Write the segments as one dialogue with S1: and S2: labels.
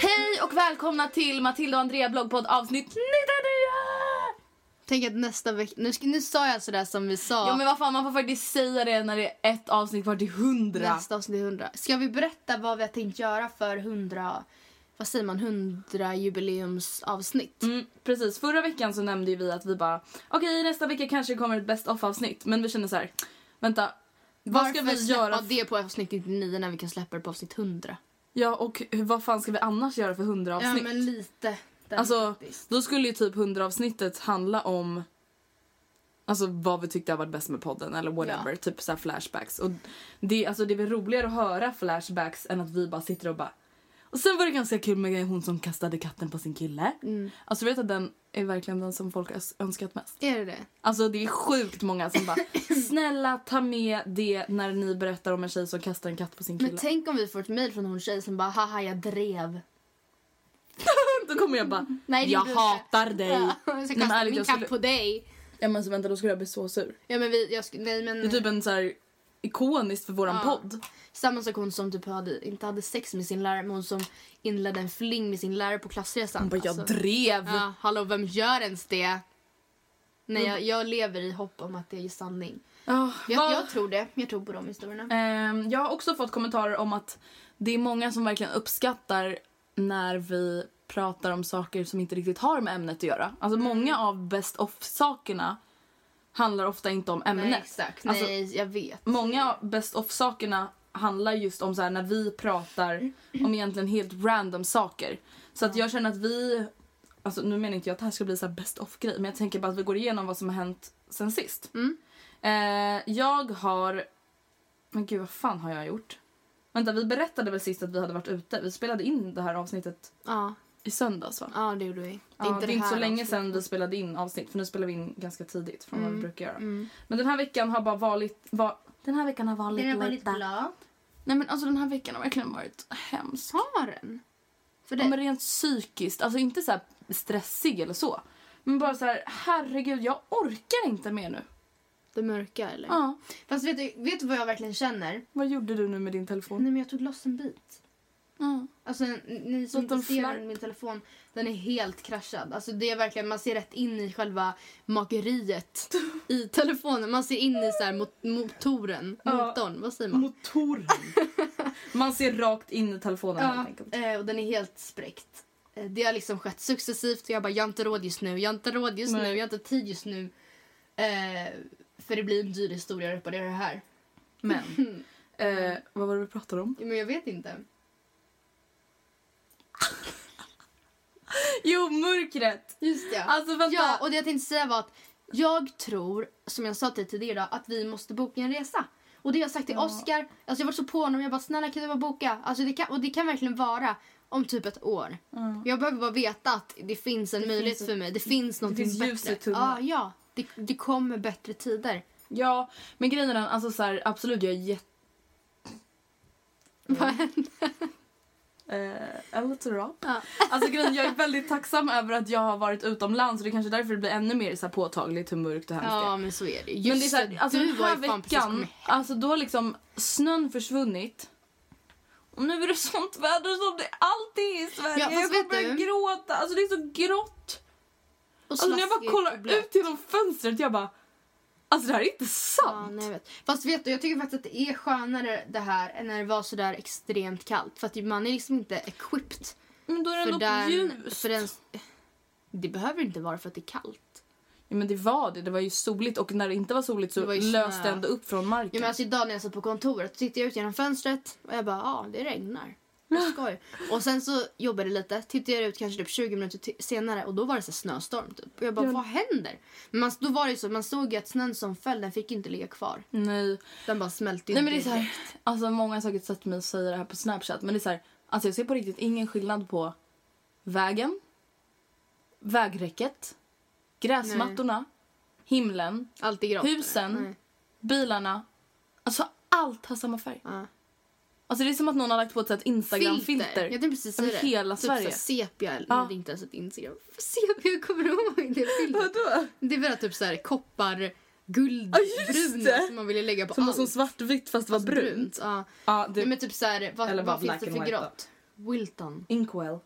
S1: Hej och välkomna till Matilda och Andrea bloggpodd avsnitt 99!
S2: Tänk att nästa vecka... Nu, ska- nu sa jag sådär som vi sa.
S1: Ja men vad fan man får faktiskt säga det när det är ett avsnitt kvar till 100.
S2: Nästa avsnitt är 100. Ska vi berätta vad vi har tänkt göra för 100... Vad säger man? 100 jubileumsavsnitt.
S1: Mm, precis, förra veckan så nämnde ju vi att vi bara okej nästa vecka kanske kommer ett best of avsnitt men vi känner så här vänta vad ska vi
S2: Varför släppa
S1: göra?
S2: det på avsnitt 99 när vi kan släppa det på avsnitt 100?
S1: Ja och hur- vad fan ska vi annars göra för 100
S2: Ja,
S1: avsnitt?
S2: men lite. där
S1: Alltså,
S2: faktiskt.
S1: då skulle ju typ 100-avsnittet handla om alltså, vad vi tyckte har varit bäst med podden eller whatever.
S2: Ja.
S1: Typ så här flashbacks. Och det, alltså, det är väl roligare att höra flashbacks än att vi bara sitter och bara... Och sen var det ganska kul med hon som kastade katten på sin kille.
S2: Mm.
S1: Alltså du vet att den är verkligen den som folk har öns- önskat mest.
S2: Är det det?
S1: Alltså det är sjukt många som bara snälla ta med det när ni berättar om en tjej som kastar en katt på sin
S2: Men
S1: kille.
S2: tänk om vi får ett mejl från hon tjej som bara haha jag drev.
S1: Då kommer jag bara
S2: Nej, det
S1: jag
S2: gjorde du inte.
S1: hatar dig.
S2: Ja, jag
S1: Nej,
S2: ska
S1: men
S2: kasta
S1: ärligt,
S2: min
S1: jag
S2: katt
S1: skulle-
S2: på dig.
S1: Ja men så vänta då skulle jag bli så sur.
S2: Ja men vi, jag skulle, nej men.
S1: Det är typ en så här ikoniskt för våran
S2: Mm. Ja.
S1: podd.
S2: Samma sak hon som typ hade, inte hade sex med sin lärare men hon som inledde en fling med sin lärare på klassresan.
S1: Hon bara, jag
S2: Alltså,
S1: drev.
S2: ja, hallå, vem gör ens det? Nej, jag,
S1: Mm.
S2: jag lever i hopp om att det är sanning.
S1: Ja,
S2: Jag,
S1: vad-
S2: jag tror det. Jag tror på de historierna.
S1: Ehm, jag har också fått kommentarer om att det är många som verkligen uppskattar när vi pratar om saker som inte riktigt har med ämnet att göra. Alltså
S2: Mm.
S1: många av best of-sakerna handlar ofta inte om ämnet.
S2: Nej, exakt.
S1: Alltså,
S2: nej, jag vet.
S1: Många av best of-sakerna handlar just om så här när vi pratar om egentligen helt random saker. Så att jag känner att vi, alltså nu menar inte jag att det här ska bli så här best of-grej men jag tänker bara att vi går igenom vad som har hänt sen sist. Eh, jag har, men gud vad fan har jag gjort? Vänta vi berättade väl sist att vi hade varit ute, vi spelade in det här avsnittet
S2: Ja,
S1: i söndags va?
S2: ja det gjorde vi.
S1: Ja, det är inte,
S2: här
S1: så länge
S2: avsnittet.
S1: sedan vi spelade in avsnitt för nu spelar vi in ganska tidigt från vad vi brukar göra.
S2: Mm.
S1: Men den här veckan har bara varit... Va, den här veckan har varit...
S2: Den har varit
S1: lite-
S2: glad.
S1: Nej men alltså den här veckan har verkligen varit hemsk.
S2: Har den? För
S1: Ja,
S2: det,
S1: men rent psykiskt, alltså inte så här stressig eller så. Men bara så här, herregud jag orkar inte mer nu.
S2: det mörka eller?
S1: Ja, Mm.
S2: Fast vet du, vet du vad jag verkligen känner?
S1: vad gjorde du nu med din telefon?
S2: Nej men jag tog loss en bit.
S1: Ja.
S2: Alltså ni som
S1: Liten
S2: inte ser
S1: flärp.
S2: den, min telefon, den är helt kraschad. Alltså det är verkligen, man ser rätt in i själva makeriet i telefonen. Man ser in i så här mot, motoren,
S1: Ja.
S2: motorn, vad säger man?
S1: Motoren. Man ser rakt in i telefonen helt
S2: Ja,
S1: enkelt.
S2: eh, och den är helt spräckt. Eh, Det har liksom skett successivt och jag bara, jag har inte råd just nu, jag har inte råd just
S1: Nej.
S2: nu, jag har inte tid just nu. Eh, för det blir en dyr historia att reparera det här.
S1: Men, eh, vad var det vi pratade om?
S2: Men jag vet inte.
S1: Jo, mörkret!
S2: Just det.
S1: Alltså, vänta.
S2: Ja, och det jag tänkte säga var att jag tror, som jag sa till dig tidigare idag, att vi måste boka en resa. Och det har jag sagt till Oscar, alltså jag var så på honom, jag bara snälla kan du bara boka? Alltså det kan, och det kan verkligen vara om typ ett år.
S1: Mm.
S2: Jag behöver bara veta att det finns en möjlighet för mig, det finns någonting
S1: finns ljus i
S2: bättre.
S1: tunneln.
S2: Ja, ja. Det, det kommer bättre tider.
S1: Ja, men grejen är den, alltså så här, absolut jag är jätte... Eh, en liten rap.
S2: Ja.
S1: Alltså grejen, jag är väldigt tacksam över att jag har varit utomlands och det är kanske därför det blir ännu mer så här påtagligt hur mörkt och hemskt det är.
S2: Ja, men så är det. Just
S1: Men det är så här,
S2: det,
S1: alltså
S2: du
S1: den
S2: var
S1: här
S2: ju fan precis
S1: veckan,
S2: kommit hem.
S1: alltså då har liksom snön försvunnit. Och nu är det sånt väder som det alltid är i Sverige.
S2: Ja, fast
S1: jag kommer
S2: vet
S1: börja
S2: du-
S1: gråta. Alltså det är så grått.
S2: Och
S1: Alltså när jag bara
S2: slaskigt och
S1: kollar
S2: blött.
S1: ut genom fönstret jag bara Alltså det här är inte sant.
S2: Ja, nej, jag vet. Fast vet du, jag tycker faktiskt att det är skönare det här än när det var sådär extremt kallt. För att man är liksom inte equipped
S1: Men då är det
S2: för
S1: ändå
S2: den...
S1: ljust.
S2: För den det behöver inte vara för att det är kallt.
S1: Ja, men det var det. Det var ju soligt och när det inte var soligt så
S2: Det var ju
S1: löste det
S2: snö.
S1: ändå upp från marken.
S2: Ja, men alltså idag när jag satt på kontoret så tittade jag ut genom fönstret och jag bara, ja, ah, det regnar. Vad Skoj. Och sen så jobbade jag lite, tittade jag ut kanske typ 20 minuter ti- senare och då var det så här snöstorm typ. Och jag bara, vad händer? Men man, då var det ju så, man såg ju att snön som föll, den fick ju inte ligga kvar.
S1: Nej.
S2: Den bara smälte ju
S1: Nej men det är
S2: inte
S1: så här, alltså många har säkert sett mig säga det här på Snapchat men det är så här, alltså jag ser på riktigt ingen skillnad på vägen, vägräcket, gräsmattorna, himlen,
S2: Allt är grått.
S1: husen,
S2: Nej.
S1: bilarna. Alltså allt har samma färg.
S2: Ja.
S1: Alltså det är som att någon har lagt på ett sånt här Instagram-filter.
S2: Jag tänkte precis säga
S1: över
S2: det.
S1: hela
S2: typ
S1: Sverige.
S2: Typ sepia, eller
S1: Ja.
S2: nej, det är inte ens ett Instagram. Sepia, jag kommer ihåg det filtret.
S1: Vadå?
S2: Det är väl typ såhär koppar, guld,
S1: Ja, just
S2: bruna
S1: det.
S2: som man ville lägga på
S1: Som var
S2: allt.
S1: som svartvitt fast det var
S2: Alltså
S1: brunt.
S2: Ja.
S1: Ja, det-
S2: Nej, men typ såhär, vad,
S1: eller
S2: vad
S1: bara
S2: finns
S1: black
S2: det
S1: and
S2: för
S1: white
S2: grått? Wilton.
S1: Inkwell.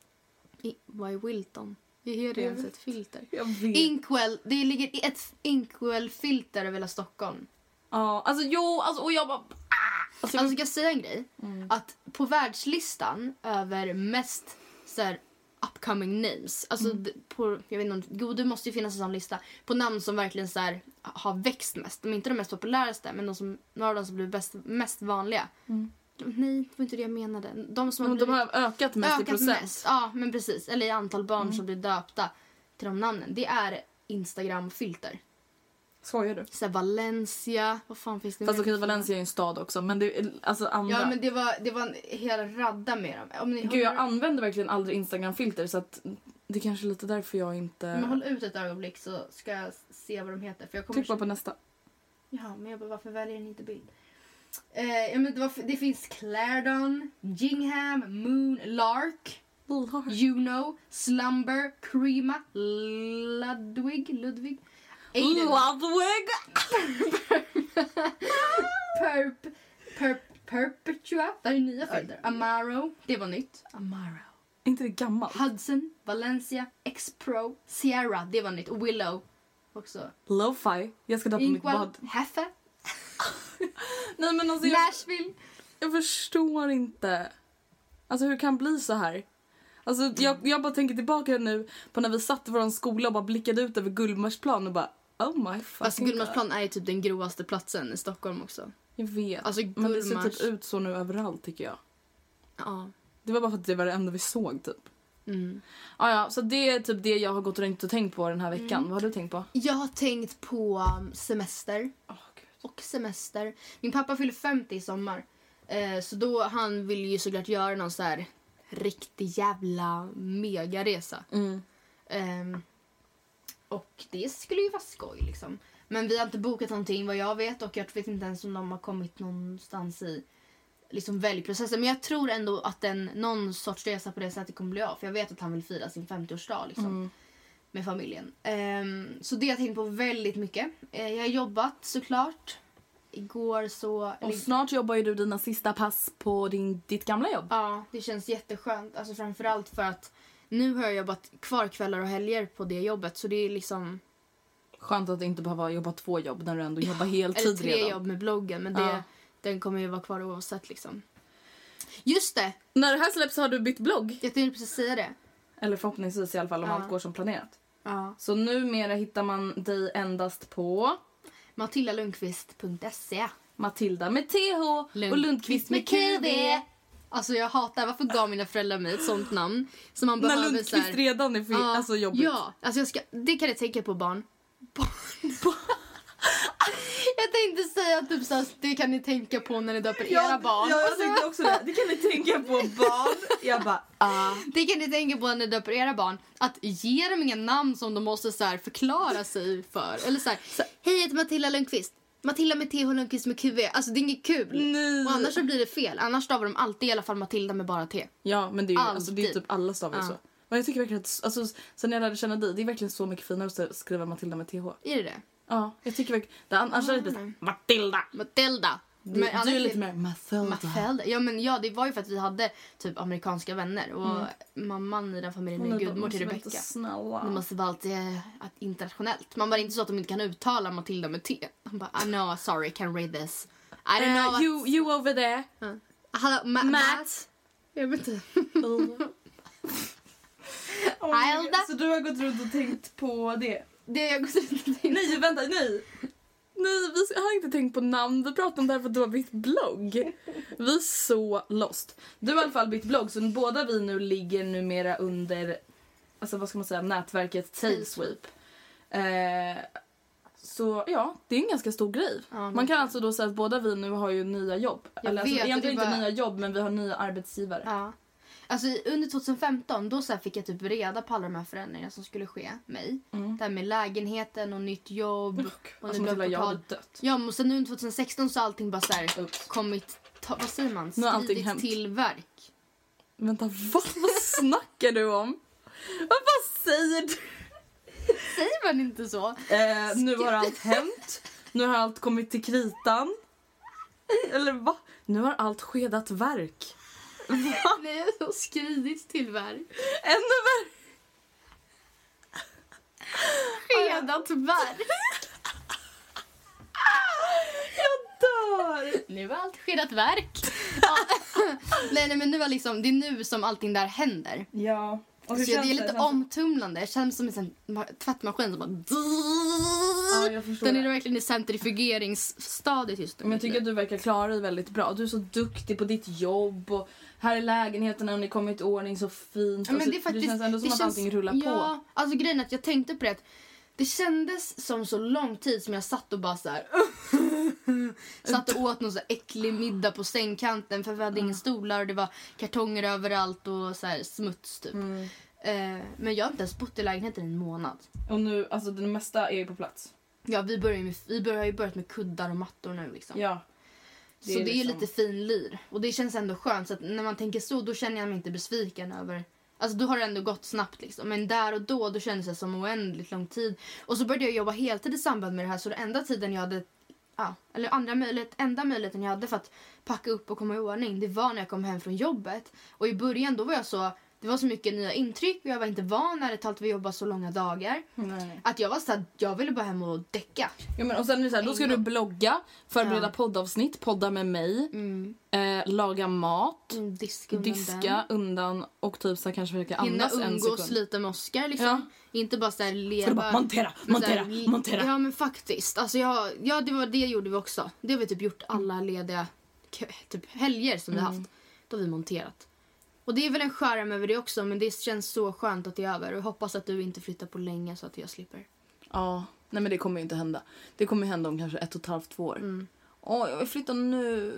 S2: I, vad är Wilton? Det är ens ett filter.
S1: Jag vet.
S2: Inkwell, det ligger i ett Inkwell-filter över hela Stockholm.
S1: Ja, alltså jo, alltså, och jag bara... Alltså, jag-
S2: Alltså, ska jag säga en grej?
S1: Mm.
S2: Att på världslistan över mest så här, upcoming names, alltså
S1: Mm.
S2: d- på, jag vet inte om, jo det måste ju finnas en sån lista, på namn som verkligen så här, har växt mest. De är inte de mest populäraste, men de som, några av de som blivit bäst, mest vanliga. De, nej, det var inte det jag menade. De som har
S1: Mm. men de
S2: blivit
S1: har ökat mest i
S2: ökat
S1: procent. Mm.
S2: mest, ja men precis, eller i antal barn som blir döpta till de namnen, det är Instagram-filter.
S1: Skojar du?
S2: Så här, Valencia, vad fan finns det
S1: Fast
S2: mer?
S1: okej, Valencia är en stad också, men det är alltså andra.
S2: Ja men det var, det var en hel radda med dem. Om ni
S1: Gud, jag
S2: håller-
S1: använder verkligen aldrig Instagram-filter så att det kanske är lite därför jag inte...
S2: Men håll ut ett ögonblick så ska jag se vad de heter. För jag kommer
S1: Tryck Typ bara på nästa.
S2: Ja, men jag bara, varför väljer den inte bild? Eh, ja, men det, var, det finns Claredon, Gingham, Moon, Lark, Juno, Slumber, Crema, Ludwig, Ludwig, Aiden,
S1: Ludwig!
S2: Perp, Perp, Perpetua, det här är nya filter. Amaro, det var nytt. Amaro.
S1: Är inte det gammalt?
S2: Hudson, Valencia, X-Pro, Sierra, det var nytt. Och Willow också.
S1: Lo-fi. Jag ska döpa mitt
S2: Inkwell,
S1: bad.
S2: Heffe,
S1: Nej men alltså jag,
S2: Nashville.
S1: jag förstår inte. Alltså hur kan det bli så här? Alltså jag, jag bara tänker tillbaka nu på när vi satt i vår skola och bara blickade ut över Gullmarsplan och bara oh my fucking
S2: Alltså
S1: god.
S2: Gullmarsplan är ju typ den grovaste platsen i Stockholm också.
S1: Jag vet.
S2: Alltså,
S1: men det ser
S2: Gullmars-
S1: typ ut så nu överallt tycker jag.
S2: Ja.
S1: Det var bara för att det var det enda vi såg typ.
S2: Mm.
S1: Ah, ja, så det är typ det jag har gått runt och tänkt på den här veckan.
S2: Mm.
S1: Vad har du tänkt på?
S2: Jag har tänkt på um, semester och semester. Min pappa fyller 50 i sommar. Eh, så då han vill ju såklart göra någon så här riktig jävla megaresa. Ehm, och det skulle ju vara skoj liksom. Men vi har inte bokat någonting vad jag vet och jag vet inte ens om de har kommit någonstans i liksom väljprocessen. Men jag tror ändå att en, någon sorts resa på det sättet kommer bli av. För jag vet att han vill fira sin 50-årsdag liksom.
S1: Mm.
S2: Med familjen. Ehm, så det har jag tänkt på väldigt mycket. Eh, jag har jobbat såklart. Igår så...
S1: Och
S2: eller-
S1: snart jobbar ju du dina sista pass på din, ditt gamla jobb.
S2: Ja, det känns jätteskönt. Alltså framförallt för att nu har jag jobbat kvar kvällar och helger på det jobbet. Så det är liksom...
S1: Skönt att inte behöva jobba två jobb när du ändå jobbar heltid
S2: Eller tre
S1: redan.
S2: jobb med bloggen. Men det,
S1: Ja.
S2: den kommer ju vara kvar oavsett liksom. Just det!
S1: När det här släpps har du bytt blogg.
S2: Jag tänkte precis säga det.
S1: Eller förhoppningsvis i alla fall om
S2: Ja.
S1: allt går som planerat.
S2: Ja.
S1: Så numera hittar man dig endast på
S2: MatildaLundqvist.se
S1: Matilda med TH och Lundqvist med KV.
S2: Alltså jag hatar, varför gav mina föräldrar mig ett sånt namn? Som man
S1: När
S2: behöver
S1: Lundqvist
S2: så här,
S1: redan är för,
S2: Ja,
S1: alltså, jobbigt.
S2: Ja, alltså jag ska, det kan jag tänka på barn. Barn. jag tänkte säga typ så här, det kan ni tänka på när ni döper era barn.
S1: Ja, jag tänkte också det. Det kan ni tänka på barn. Jag bara, ah.
S2: Det kan ni tänka på när ni döper era barn. Att ge dem inga namn som de måste så här förklara sig för. Eller så här, hej jag heter Matilda Lundqvist. Matilda med TH Lundqvist med QV. Alltså det är inget kul.
S1: Nej.
S2: Och annars så blir det fel. Annars stavar de alltid i alla fall Matilda med bara T.
S1: Ja, men det är ju alltså, det är ju
S2: Alltid.
S1: typ alla stavar
S2: Ja.
S1: så. Men jag tycker verkligen att, alltså, sen när jag lärde känna dig, det är verkligen så mycket finare att st- skriva Matilda med TH.
S2: Är det det?
S1: Ja, Mm. jag tycker verkligen, det annars hade det blivit så här, Matilda.
S2: Matilda.
S1: Du,
S2: Men annars
S1: du är
S2: är-
S1: lite mer Matilda.
S2: Matilda. Ja, men ja, det var ju för att vi hade typ amerikanska vänner och
S1: Mm.
S2: mamman i den familjen är gudmor till Rebecca.
S1: Snälla.
S2: De måste vara alltid eh, att internationellt. Man bara det är inte så att de inte kan uttala Matilda med T. De bara, I know, sorry, can read this. I don't know.
S1: Eh,
S2: what-
S1: you, you over there.
S2: Hallå, Ma-
S1: Matt.
S2: Matt. Jag vet inte.
S1: Oh my God,
S2: Alda.
S1: Så du har gått runt och tänkt på det?
S2: Det jag går till.
S1: Nej, vänta, nej! Nej, vi jag har inte tänkt på namn. Vi pratade om det här för att du har bytt blogg. Vi är så lost. Du har i alla fall bytt blogg, så båda vi nu ligger numera under alltså, vad ska man säga, nätverket Tailsweep. Eh, så ja, det är en ganska stor grej. man kan alltså då säga att båda vi nu har ju nya jobb.
S2: Jag
S1: Eller alltså,
S2: vet,
S1: egentligen
S2: det är
S1: inte
S2: bara-
S1: nya jobb, men vi har nya arbetsgivare.
S2: Ja. Alltså, i- under 2015 då så här fick jag typ reda på alla de här förändringarna som skulle ske mig. Det här med lägenheten och nytt jobb. och
S1: Mm. Alltså,
S2: nya
S1: Matilda, jag hade
S2: portal.
S1: dött.
S2: Ja, men sen nu under 2016 så har allting bara så här
S1: Ups.
S2: kommit, ta, vad säger man,
S1: Nu har allting
S2: skrivit
S1: hänt.
S2: till verk.
S1: Vänta, vad, vad snackar du om? Vad, vad säger du?
S2: Säger man inte så?
S1: Eh, nu har allt hänt. Nu har allt kommit till kritan. Eller va? Nu har allt skedat verk.
S2: Nej, jag har skrivit till verk.
S1: Ännu värre!
S2: Redat verk.
S1: Jag dör!
S2: Nu har allt skedat verk. Ja. nej, nej, men nu har liksom, det är nu som allting där händer.
S1: Ja. Och
S2: Så det är lite
S1: Alltså-
S2: omtumlande. Det känns som en sån ma- tvättmaskin som bara...
S1: Ja, jag förstår
S2: Den är
S1: det.
S2: verkligen i centrifugeringsstadiet just nu.
S1: Men jag tycker att du verkar klara dig väldigt bra. Du är så duktig på ditt jobb och här i lägenheten har ni kommit i ordning så fint.
S2: Ja, men
S1: Alltså,
S2: det, är faktiskt,
S1: det känns ändå som att allting rullar på.
S2: ja, Alltså grejen är att jag tänkte på det att det kändes som så lång tid som jag satt och bara så här. satt och åt någon så här äcklig middag på sängkanten för vi hade
S1: Mm.
S2: inga stolar och det var kartonger överallt och så här smuts typ.
S1: Mm.
S2: Eh, men jag har inte ens bott i lägenheten i en månad.
S1: Och nu, alltså det mesta är ju på plats.
S2: Ja, vi, börjar ju med, vi börjar ju börjat med kuddar och mattor nu liksom.
S1: Ja.
S2: så det är ju lite fin lir. Och det känns ändå skönt. Så att när man tänker så, då känner jag mig inte besviken över... Alltså då har det ändå gått snabbt liksom. Men där och då, då kändes det som oändligt lång tid. Och så började jag jobba heltid i samband med det här. Så den enda tiden jag hade... Ja, eller andra möjlighet, enda möjligheten jag hade för att packa upp och komma i ordning, det var när jag kom hem från jobbet. Och i början då var jag så... Det var så mycket nya intryck och jag var inte van ärligt talat vid att jobba så långa dagar.
S1: Nej.
S2: Att jag var så här, jag ville bara hem och däcka.
S1: Ja, men och sen är det så här, då ska du blogga, förbereda poddavsnitt, podda med mig, eh, laga mat,
S2: Mm, diska undan
S1: diska undan och typ så här, kanske försöka
S2: den. Hinna
S1: andas en
S2: umgås
S1: sekund.
S2: lite med Oscar liksom.
S1: Ja.
S2: Inte bara såhär leva...
S1: bara montera,
S2: Men så här,
S1: montera, montera.
S2: Ja men faktiskt. Alltså jag, ja det var det gjorde vi också. Det har vi typ gjort alla
S1: Mm.
S2: lediga k- typ, helger som vi har haft. Då har vi monterat. Och det är väl en charm över det också men det känns så skönt att det är över. Och jag hoppas att du inte flyttar på länge så att jag slipper.
S1: Ja, nej men det kommer ju inte hända. Det kommer hända om kanske ett och ett halvt, två år. Åh,
S2: Mm.
S1: jag vill flytta nu.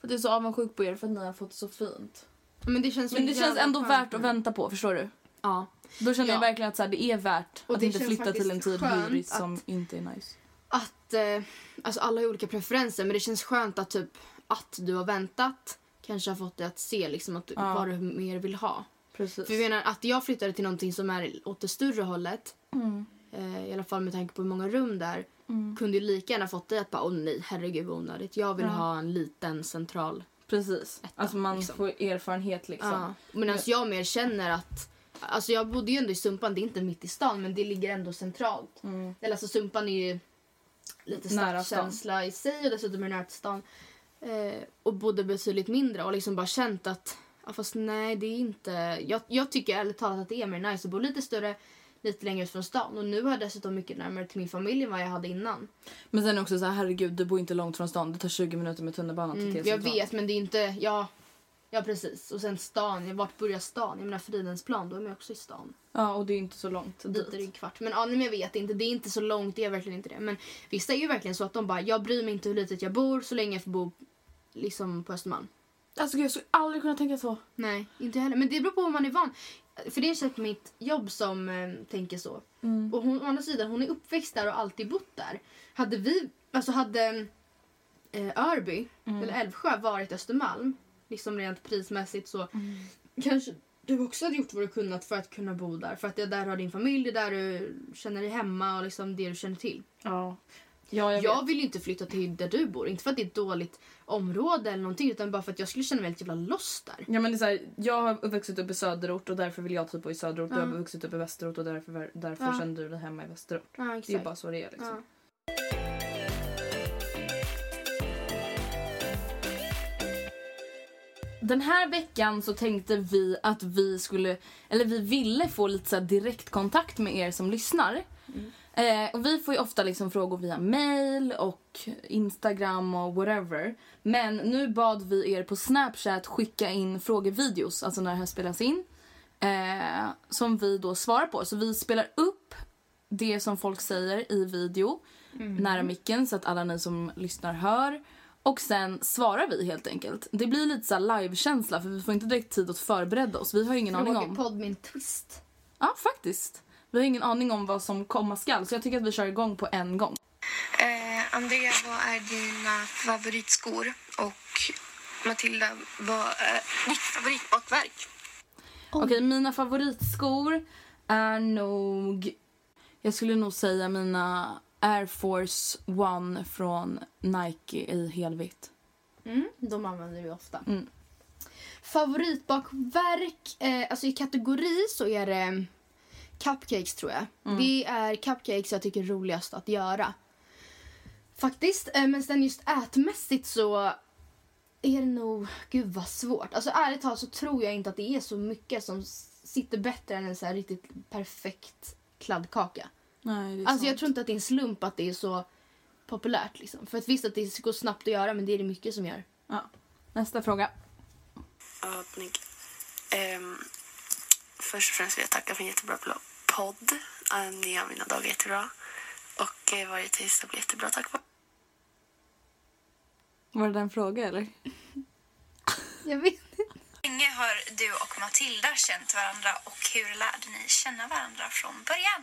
S1: För att jag är så avundsjuk på er för att ni har fått så fint.
S2: Men det känns, så
S1: Men det känns
S2: jävla
S1: ändå
S2: skönt
S1: värt
S2: nu.
S1: att vänta på, förstår du?
S2: Ja.
S1: Då känner jag
S2: Ja.
S1: verkligen att så här, det är värt
S2: Och
S1: att
S2: det
S1: inte
S2: känns
S1: flytta till en
S2: faktiskt
S1: tid
S2: skönt
S1: hybris som
S2: att-
S1: inte är nice.
S2: att eh, alltså alla har olika preferenser men det känns skönt att typ att du har väntat kanske har fått dig att se liksom att vad du mer vill ha.
S1: Precis.
S2: För jag menar att jag flyttade till någonting som är åt det större hållet eh, i alla fall med tanke på hur många rum där kunde ju lika gärna fått dig att bara åh nej herregud vad onödigt jag vill ha en liten central.
S1: Precis. Alltså man
S2: liksom.
S1: får erfarenhet liksom.
S2: Ja. Medan jag mer känner att Alltså jag bodde ju ändå i Sumpan, det är inte mitt i stan men det ligger ändå centralt. Eller alltså Sumpan är ju lite
S1: Mm. Nära stan.
S2: stadskänsla i sig och dessutom är det nära till stan. Eh, och bodde betydligt mindre och liksom bara känt att ja, fast nej det är inte. Jag, jag tycker ärligt talat att det är mer nice att bo lite större lite längre ut från stan och nu har jag dessutom mycket närmare till min familj än vad jag hade innan.
S1: Men sen också så här, herregud, du bor inte långt från stan. Det tar 20 minuter med tunnelbanan till
S2: Mm, Jag
S1: T-centralen.
S2: vet men det är inte, ja Ja precis. Och sen stan. Vart börjar stan? Jag menar Fridhemsplan, då är man också i stan.
S1: Ja, och det är inte så långt
S2: Så dit är det en kvart. Men, ja, nej, men jag vet inte, det är inte så långt. Det är verkligen inte det. Men vissa är ju verkligen så att de bara, jag bryr mig inte hur litet jag bor så länge jag får bo liksom på Östermalm.
S1: Alltså gud, jag skulle aldrig kunna tänka så.
S2: Nej, inte heller. Men det beror på om man är van. För det är säkert mitt jobb som eh, tänker så. Och hon, å andra sidan, hon är uppväxt där och alltid bott där. Hade vi, alltså hade eh, Örby, eller Älvsjö, varit Östermalm, liksom rent prismässigt så kanske du också hade gjort vad du kunnat för att kunna bo där. För att det är där du har din familj, det är där du känner dig hemma och liksom det du känner till.
S1: Ja. Ja, jag,
S2: Jag,
S1: vet.
S2: vill ju inte flytta till där du bor, inte för att det är ett dåligt område eller någonting utan bara för att jag skulle känna mig helt jävla lost där.
S1: Ja, men det är så här, jag har vuxit upp i söderort och därför vill jag typ bo i söderort. Du har vuxit upp i västerort och därför, därför
S2: Ja.
S1: känner du dig hemma i västerort.
S2: Ja,
S1: Det är
S2: exakt.
S1: ju bara så det är liksom.
S2: Ja.
S1: Den här veckan så tänkte vi att vi skulle, eller vi ville få lite så här direktkontakt med er som lyssnar. Eh, och vi får ju ofta liksom frågor via mail och Instagram och whatever. Men nu bad vi er på Snapchat skicka in frågevideos, alltså när det här spelas in. Eh, som vi då svarar på. Så vi spelar upp det som folk säger i video nära micken så att alla ni som lyssnar hör. Och sen svarar vi helt enkelt. Det blir lite så här livekänsla för vi får inte direkt tid att förbereda oss. Vi har ju ingen aning om...
S2: Frågepodd med en twist.
S1: Ja, faktiskt. Vi har ingen aning om vad som komma skall så jag tycker att vi kör igång på en gång.
S3: Eh, Andrea, vad är dina favoritskor? Och Matilda, vad är ditt favoritbakverk?
S1: Okej, mina favoritskor är nog... Jag skulle nog säga mina Air Force One från Nike i helvitt.
S2: De använder vi ofta. Favoritbakverk, eh, alltså i kategori så är det cupcakes tror jag. Det är cupcakes jag tycker är roligast att göra. Faktiskt, eh, men sen just ätmässigt så är det nog, gud vad svårt. Alltså ärligt talat så tror jag inte att det är så mycket som s- sitter bättre än en så här riktigt perfekt kladdkaka.
S1: Nej, det är
S2: Alltså jag tror inte att det är en slump att det är så populärt liksom. För att visst att det går snabbt att göra men det är det mycket som gör.
S1: Ja. Nästa fråga.
S3: Ja, snygg. Ehm, först och främst vill jag tacka för en jättebra pl- podd. Eh, Ni har mina dagar jättebra. Och eh, varje tisdag blir jättebra. Tack vare
S1: Var det en fråga eller?
S2: Jag vet
S4: länge har du och Matilda känt varandra och hur lärde ni känna varandra från början?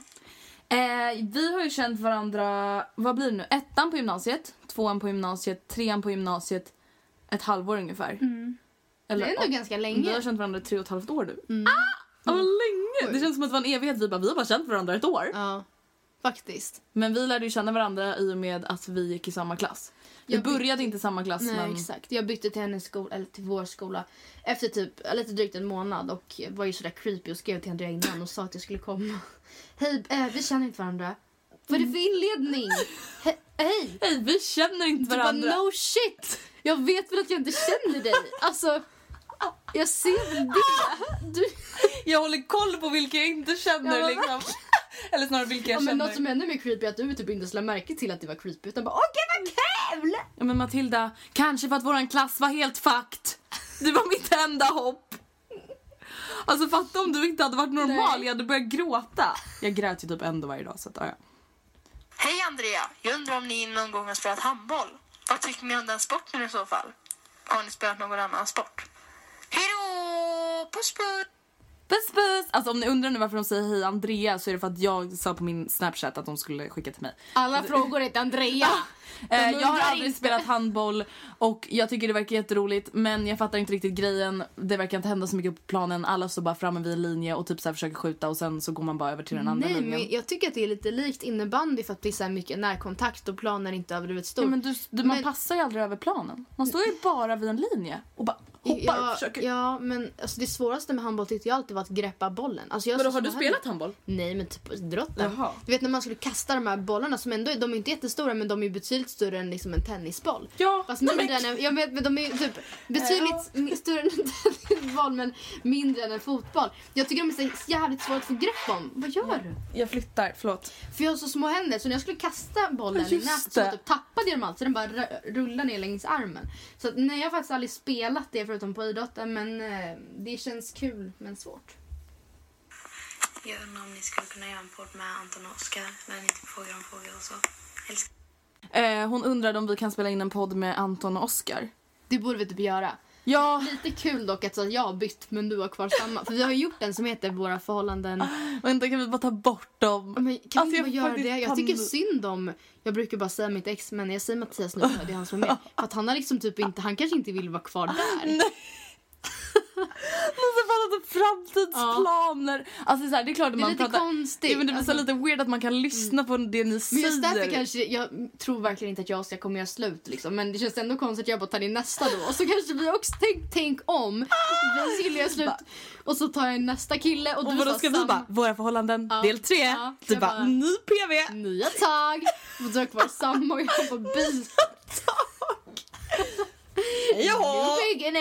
S1: Eh, vi har ju känt varandra, vad blir det nu, ettan på gymnasiet, tvåan på gymnasiet, trean på gymnasiet, ett halvår ungefär. Eller,
S2: Det är ändå
S1: och-
S2: ganska
S1: Vi har
S2: länge. Mm.
S1: känt varandra i tre och ett halvt år nu. Ah! Vad länge! Det känns som att det var en evighet, vi bara, vi har bara känt varandra ett år.
S2: Ja, faktiskt.
S1: Men vi lärde ju känna varandra i och med att vi gick i samma klass. Vi
S2: Jag
S1: började inte i samma klass
S2: Nej,
S1: men...
S2: exakt. Jag bytte till hennes skola, eller till vår skola efter typ eh, lite drygt en månad och var ju sådär creepy och skrev till Andrea innan och sa att jag skulle komma. Hej, eh, vi känner inte varandra. Vad är det för inledning? He- Hej!
S1: Hej, vi känner inte
S2: Du bara
S1: varandra.
S2: no shit! Jag vet väl att jag inte känner dig. Alltså, jag ser väl det. Du,
S1: Jag håller koll på vilka jag inte känner
S2: Ja, men
S1: liksom. Eller snarare vilka
S2: ja,
S1: jag
S2: men
S1: känner.
S2: något som är ännu mer creepy är att du typ inte ens lade märke till att det var creepy utan bara okej vad kul!
S1: Ja, men Matilda, kanske för att våran klass var helt fakt. Det var mitt enda hopp. Alltså fatta om du inte hade varit normal, jag hade börjat gråta. Jag grät ju typ ändå varje dag så att, ja.
S3: Hej Andrea! Jag undrar om ni någon gång har spelat handboll? Vad tycker ni om den sporten i så fall? Har ni spelat någon annan sport? Hej då! Puss puss!
S1: Puss puss! Alltså om ni undrar nu varför de säger hej Andrea så är det för att jag sa på min snapchat att de skulle skicka till mig.
S2: Alla frågor är till Andrea.
S1: Eh, jag har
S2: undrar
S1: aldrig
S2: inte.
S1: spelat handboll och jag tycker det verkar jätteroligt men jag fattar inte riktigt grejen. Det verkar inte hända så mycket på planen. Alla står bara framme vid en linje och typ så här försöker skjuta och sen så går man bara över till den andra
S2: Nej,
S1: linjen.
S2: men jag tycker att det är lite likt innebandy för att det är så här mycket närkontakt och planen är inte överdrivet stor.
S1: Ja, men du, du, man
S2: Men-
S1: passar ju aldrig över planen. Man står ju bara vid en linje och bara hoppar och
S2: ja,
S1: försöker.
S2: ja, men alltså, det svåraste med handboll tyckte jag alltid var att greppa bollen. Alltså, jag
S1: Vadå,
S2: så-
S1: har du
S2: så-
S1: spelat handboll?
S2: Nej, men typ idrotten.
S1: Jaha.
S2: Du vet när man skulle kasta de här bollarna som ändå är, de är inte jättestora men de är ju betydligt större än liksom en tennisboll.
S1: Ja,
S2: Fast
S1: nej,
S2: mindre
S1: men-
S2: än en, jag vet, men de är ju typ betydligt mi- större än en tennisboll men mindre än en fotboll. Jag tycker de är så här jävligt svåra att få grepp om. Vad gör du?
S1: Jag flyttar, förlåt.
S2: För jag har så små händer så när jag skulle kasta bollen
S1: Ja,
S2: i
S1: just
S2: nätet så
S1: det.
S2: typ tappade jag dem allt så den bara r- rullade ner längs armen. Så att, nej jag har faktiskt aldrig spelat det för förutom på idrotten. Men eh, det känns kul men svårt.
S3: Jag undrar om ni skulle kunna göra en podd med Anton och Oskar när ni typ frågar om frågor och så. Älskar
S1: Eh, hon undrade om vi kan spela in en podd med Anton och Oskar.
S2: Det borde vi typ göra.
S1: Ja,
S2: Lite kul dock att så att jag har bytt men du har kvar samma. För vi har ju gjort en som heter Våra förhållanden.
S1: vänta kan vi bara ta bort dem?
S2: Men
S1: Ah,
S2: kan
S1: Alltså,
S2: vi inte
S1: jag faktiskt
S2: bara göra
S1: Alltså,
S2: det? Jag
S1: kan-
S2: tycker synd om... Jag brukar bara säga mitt ex men jag säger Mattias nu för det är han som är med. För att han har liksom typ inte... Han kanske inte vill vara kvar där.
S1: Men så fan att framtidsplaner. Alltså det är, så här, det är klart att
S2: Det är
S1: man
S2: lite
S1: pratar...
S2: konstigt.
S1: Ja, men det blir så
S2: Alltså- Mm.
S1: lite weird att man kan lyssna på det ni
S2: Men
S1: säger.
S2: just därför kanske, jag tror verkligen inte att jag ska kommer göra slut liksom. Men det känns ändå konstigt att jag bara tar in nästa då. Och så kanske vi också, tänk, tänk om. Vi skulle göra slut och så tar jag in nästa kille och,
S1: Ah! Och
S2: du
S1: vadå
S2: sa
S1: ska vi
S2: samma-
S1: bara, våra förhållanden
S2: Ja.
S1: del 3.
S2: Ja,
S1: du
S2: jag
S1: bara,
S2: bara- Mm.
S1: ny PV.
S2: Nya tag. Och du har kvar samma och jag har bara byta.
S1: Hej och hå!
S2: New beginning.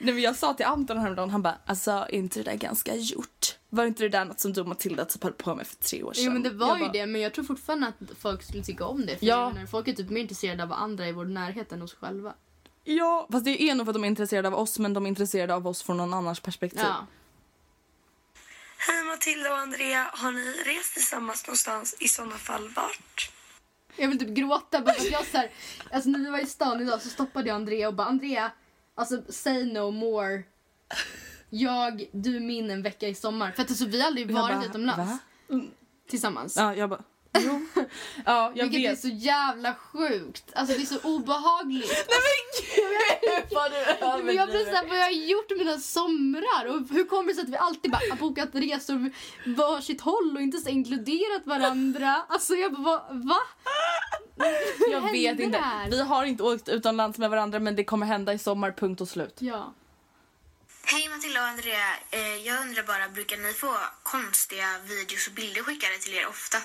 S1: Nej, men jag sa till Anton häromdagen, han bara alltså är inte det där ganska gjort? Var inte det där något som du och Matilda typ höll på med för tre år sedan?
S2: Jo men det var
S1: Jag
S2: ju
S1: bara,
S2: det men jag tror fortfarande att folk skulle tycka om det. För
S1: Ja.
S2: jag menar, folk är typ mer intresserade av andra i vår närhet än oss själva.
S1: Ja, fast det är nog för att de är intresserade av oss men de är intresserade av oss från någon annans perspektiv.
S2: Ja.
S3: Hej Matilda och Andrea, har ni rest tillsammans någonstans? I sådana fall vart?
S2: Jag vill typ gråta. Bara för att jag så här, alltså när vi var i stan idag så stoppade jag Andrea och bara Andrea, alltså say no more. Jag, du, min en vecka i sommar. För att alltså, vi har aldrig
S1: Jag
S2: varit
S1: bara,
S2: utomlands
S1: "Va?"
S2: tillsammans.
S1: Ja, jag bara, jo. ja, jag
S2: Vilket
S1: vet.
S2: är så jävla sjukt. Alltså det är så obehagligt.
S1: Nej men gud vad du
S2: Men jag blir såhär, vad jag har gjort med mina somrar? Och hur kommer det sig att vi alltid bara har bokat resor varsitt håll och inte så inkluderat varandra? Alltså jag bara, va? va?
S1: Jag
S2: Vad
S1: vet
S2: hände
S1: inte.
S2: där?
S1: Vi har inte åkt utomlands med varandra men det kommer hända i sommar, punkt och slut.
S2: Ja.
S4: Hej Matilda och Andrea. Eh, Jag undrar bara, brukar ni få konstiga videos och bilder skickade till er ofta?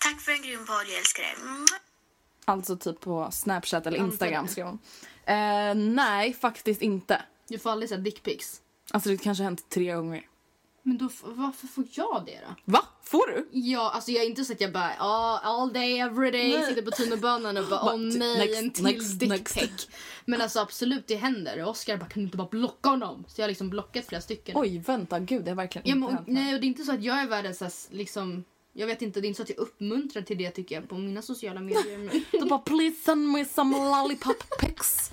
S4: Tack för en grym podd, jag älskar er. Mua.
S1: Alltså typ på Snapchat eller Instagram skrev hon. Eh, nej, faktiskt inte.
S2: Du får aldrig såhär dickpics.
S1: Alltså det kanske har hänt tre gånger.
S2: Men då, f- varför får jag det då?
S1: Va? Får du?
S2: Ja, alltså jag är inte så att jag bara "Ah, all day every day
S1: Nej.
S2: sitter på tunnelbanan och bara
S1: Bara,
S2: åh
S1: t-
S2: nej
S1: next,
S2: en
S1: next,
S2: till
S1: next.
S2: dickpic. Men alltså absolut det händer och Oscar bara kan du inte bara blocka honom? Så jag har liksom blockat flera stycken.
S1: Oj, vänta. Gud, det har verkligen
S2: ja,
S1: inte
S2: men, och,
S1: hänt. mig.
S2: nej och det är inte så att jag är världens så här, liksom jag vet inte, det är inte så att jag uppmuntrar till det tycker jag på mina sociala medier. Men,
S1: Du bara please send me some lollipop pics.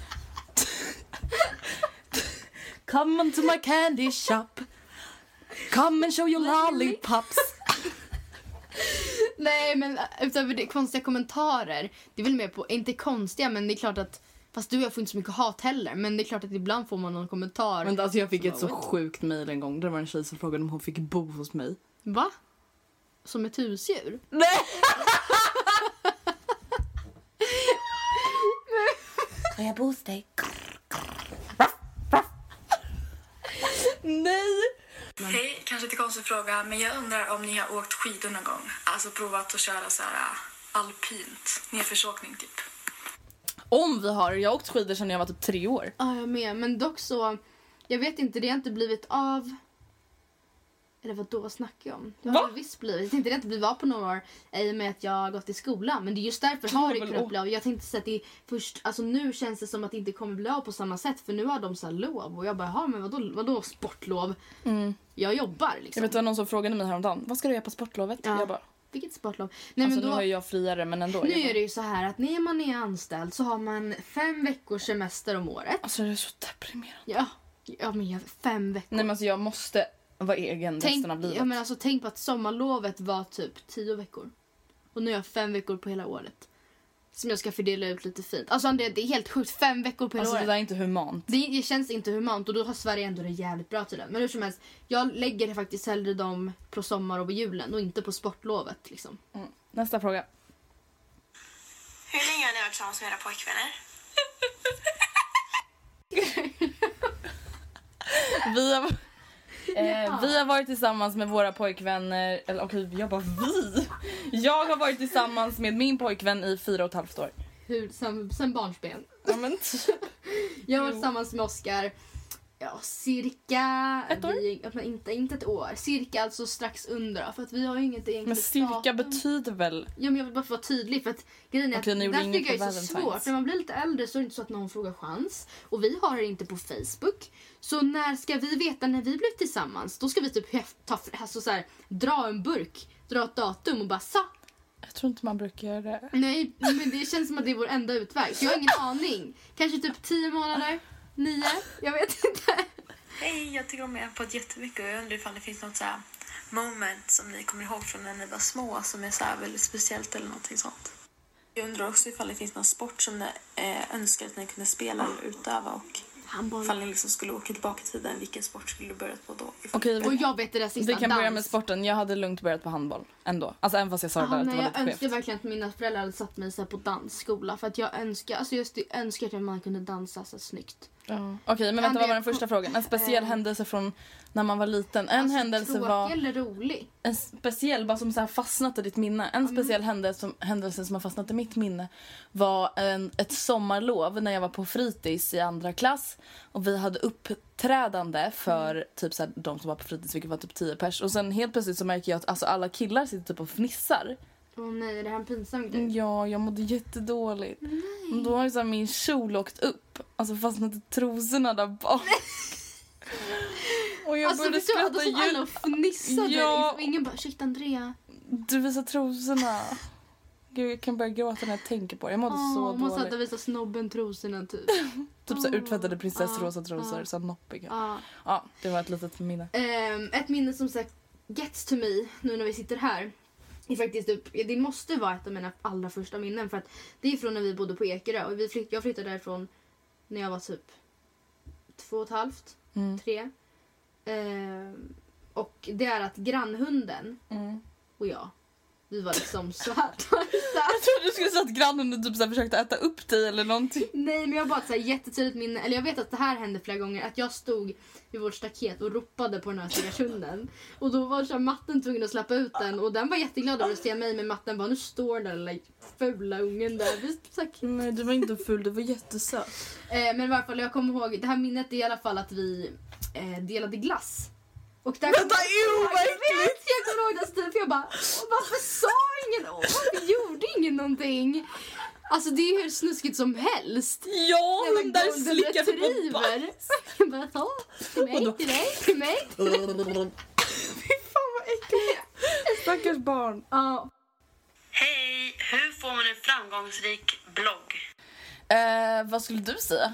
S1: Come into my candy shop. Come and show your lollipops.
S2: nej men äh, utöver det, konstiga kommentarer. Det är väl mer på, inte konstiga men det är klart att, fast du och jag får inte så mycket hat heller. Men det är klart att ibland får man någon kommentar.
S1: Men alltså jag fick ett så
S2: Oj.
S1: sjukt mejl en gång. Det var en tjej som frågade om hon fick bo hos mig.
S2: Va? Som ett husdjur?
S1: Får jag bo hos dig? Nej!
S3: Hej, kanske lite konstig fråga, men jag undrar om ni har åkt skidor någon gång? Alltså provat att köra så här äh, alpint, nedförsåkning typ.
S1: Om vi har. Jag har åkt skidor sedan jag var typ tre år.
S2: Ja, jag med. Men dock så... Jag vet inte, det har inte blivit av... Eller vad då snackar jag om? Det har
S1: Va?
S2: det visst blivit. Jag tänkte det har inte blivit av på några år i och med att jag har gått i skolan. Men det är just därför har det
S1: väl
S2: kunnat
S1: å-
S2: bli av. Jag tänkte säga att det är först... Alltså nu känns det som att det inte kommer bli av på samma sätt. För nu har de så här lov. Och jag bara, jaha men vadå, vadå sportlov? Jag jobbar
S1: Mm. Jag
S2: liksom.
S1: vet det var någon som frågade mig häromdagen. Vad ska du göra på sportlovet?
S2: Ja.
S1: Jag bara.
S2: Vilket sportlov? Nej,
S1: Alltså
S2: men
S1: nu
S2: då...
S1: är jag friare men ändå.
S2: Nu
S1: Jag bara,
S2: är det ju så här att när man är anställd så har man fem veckors semester om året.
S1: Alltså det är så deprimerande.
S2: Ja, ja men jag, fem veckor.
S1: Nej men alltså jag måste vara egen
S2: Tänk,
S1: resten av livet.
S2: ja, men alltså, tänk på att sommarlovet var typ tio veckor. Och nu har jag fem veckor på hela året. Som jag ska fördela ut lite fint. Alltså Andrea, det är helt sjukt. Fem veckor på hela
S1: alltså det
S2: året.
S1: där är inte humant.
S2: Det, det känns inte humant och då har Sverige ändå det jävligt bra till det. Men hur som helst, jag lägger faktiskt hellre dem på sommar och på julen och inte på sportlovet. Liksom.
S1: Mm. Nästa fråga.
S4: Hur länge har ni varit tillsammans med era pojkvänner?
S1: Vi har, eh, vi har varit tillsammans med våra pojkvänner. Eller okej jag bara vi. Jag har varit tillsammans med min pojkvän i fyra och ett halvt år.
S2: Hur, sen, sen barnsben.
S1: Ja men typ.
S2: Jag har varit tillsammans med Oscar Ja, cirka...
S1: Ett år?
S2: Vi, men inte, inte ett år. Cirka alltså strax under. För att vi har ju inget egentligt
S1: Men styrka
S2: datum.
S1: betyder väl...
S2: Ja, men jag vill bara få vara tydlig. För att grejen är
S1: Okej,
S2: att
S1: ni
S2: det
S1: gjorde
S2: där
S1: inget
S2: tycker
S1: på
S2: jag är så
S1: Valentine's.
S2: svårt. När man blir lite äldre så är det inte så att någon frågar chans. Och vi har det inte på Facebook. Så när ska vi veta när vi blev tillsammans? Då ska vi typ hef- ta, alltså så här, dra en burk, dra ett datum och bara sa.
S1: Jag tror inte man brukar göra det.
S2: Nej, men det känns som att det är vår enda utväg. Så jag har ingen aning. Kanske typ tio månader? Nio? Jag vet inte.
S3: Hej, jag tycker om er podd jättemycket och jag undrar ifall det finns något så här moment som ni kommer ihåg från när ni var små som är så här väldigt speciellt eller någonting sånt. Jag undrar också ifall det finns någon sport som ni eh, önskar att ni kunde spela eller utöva och
S2: Handboll.
S3: ifall ni liksom skulle åka tillbaka i tiden, vilken sport skulle du börjat på då? Ifall-
S1: Okej,
S2: Och jag vet det där sista.
S1: vi kan börja med
S2: dans.
S1: sporten. Jag hade lugnt börjat på handboll ändå. Alltså även fast jag sa det där
S2: Aha,
S1: att det
S2: nej,
S1: var
S2: jag
S1: lite
S2: önskar
S1: skevt.
S2: verkligen att mina föräldrar hade satt mig så här på dansskola. För att jag önskar, alltså just det, jag önskar att man kunde dansa så här snyggt.
S1: Ja. Okej, men
S2: Men
S1: vänta vad var
S2: det-
S1: den första frågan? En speciell
S2: Eh.
S1: händelse från när man var liten. En
S2: alltså,
S1: händelse
S2: tråkig
S1: var...
S2: eller rolig?
S1: en speciell, bara som så här fastnat i ditt minne. En
S2: Mm.
S1: speciell händelse, som, händelse som har fastnat i mitt minne var en, ett sommarlov när jag var på fritids i andra klass. Och vi hade uppträdande för
S2: Mm.
S1: typ så här, de som var på fritids, vilket var typ 10 pers. Och sen helt plötsligt så märker jag att alltså, alla killar sitter typ och fnissar.
S2: Åh nej, är det här en pinsam grej?
S1: Mm, Ja, jag mådde jättedåligt. Och då har ju så här min kjol åkt upp, alltså fastnat i trosorna där bak. Och jag
S2: alltså
S1: började
S2: förstår du,
S1: skratta
S2: då som alla och fnissade.
S1: Ja.
S2: Liksom, ingen bara shit Andrea.
S1: Du visar trosorna. Gud, jag kan börja gråta när jag tänker på det. Jag mådde så
S2: Åh, man satt
S1: dåligt.
S2: och visade snobben trosorna typ.
S1: Typ så här uttvättade
S2: Ja,
S1: prinsessrosa
S2: ja.
S1: trosor, så här noppiga. Ja.
S2: Ja.
S1: det var ett litet minne.
S2: Ehm, ett minne som sagt gets to me nu när vi sitter här. Är faktiskt upp, det måste vara ett av mina allra första minnen. För att Det är från när vi bodde på Ekerö. Och vi flytt, jag flyttade därifrån när jag var typ två och ett halvt,
S1: Mm.
S2: tre. Ehm, och det är att grannhunden
S1: Mm.
S2: och jag, vi var liksom så här tajta.
S1: Jag trodde du skulle säga att grannen typ så här försökte äta upp dig eller någonting.
S2: Nej men jag har bara ett så här jättetydligt minne, eller jag vet att det här hände flera gånger, att jag stod vid vårt staket och ropade på den här stackars hunden. Och då var så här, matten tvungen att släppa ut den och den var jätteglad över att se mig men matten bara nu står den där lilla fula ungen där vid staketet.
S1: Nej, du var inte ful, du var jättesöt.
S2: Eh, men i varje fall jag kommer ihåg, det här minnet är i alla fall att vi eh, delade glass. Och där Vänta,
S1: ew, vad
S2: äckligt! Jag kommer ihåg den stilen för jag bara "Åh, varför sa ingen, Åh, varför gjorde ingen någonting? Alltså det är hur snuskigt som helst.
S1: Ja,
S2: Jävla
S1: hundar
S2: golden
S1: slickar
S2: retriever.
S1: på barn.
S2: Jag bara, ja, till
S1: Och
S2: mig,
S1: då-
S2: till dig, till mig.
S1: Fan vad äckligt. Stackars barn.
S2: Ja.
S4: Hej! Hur får man en framgångsrik blogg?
S1: Eh, vad skulle du säga?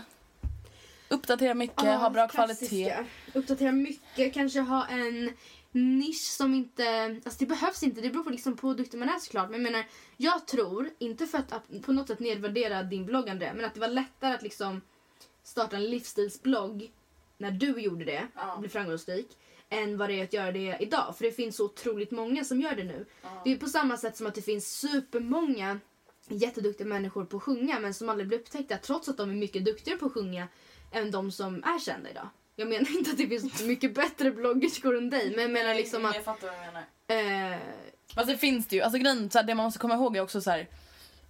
S1: Uppdatera mycket, ha bra kvalitet.
S2: klassiska. Uppdatera mycket, kanske ha en nisch som inte... Alltså det behövs inte, det beror på, liksom på hur duktig man är såklart. Men jag menar, jag tror, inte för att ap- på något sätt nedvärdera din bloggande, men att det var lättare att liksom starta en livsstilsblogg när du gjorde det och blev framgångsrik än vad det är att göra det idag. För det finns så otroligt många som gör det nu. Det är på samma sätt som att det finns supermånga jätteduktiga människor på att sjunga men som aldrig blir upptäckta trots att de är mycket duktigare på att sjunga än de som är kända idag. Jag menar inte att det finns så mycket bättre bloggerskor än dig men jag menar liksom att...
S1: fattar vad du menar.
S2: Eh,
S1: Fast det finns det ju. Alltså grejen, så här, det man måste komma ihåg är också så här.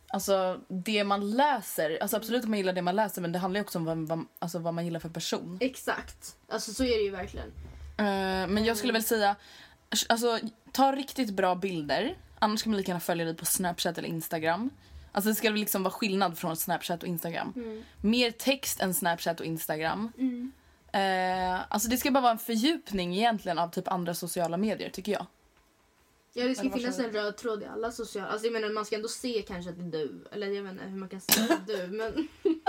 S1: Alltså det man läser, alltså absolut att man gillar det man läser men det handlar ju också om vad, vad, alltså, vad man gillar för person.
S2: exakt. Alltså så är det ju verkligen.
S1: Eh, men jag skulle väl säga, alltså ta riktigt bra bilder. Annars kan man lika gärna följa dig på Snapchat eller Instagram. Alltså det ska väl liksom vara skillnad från Snapchat och Instagram. Mer text än Snapchat och Instagram. Eh, alltså det ska bara vara en fördjupning egentligen av typ andra sociala medier tycker jag.
S2: Ja, det ska ju
S1: vad
S2: finnas
S1: sa du?
S2: en röd tråd i alla sociala... Alltså jag menar man ska ändå se kanske att det är du. Eller jag vet inte hur man kan se att det är du men...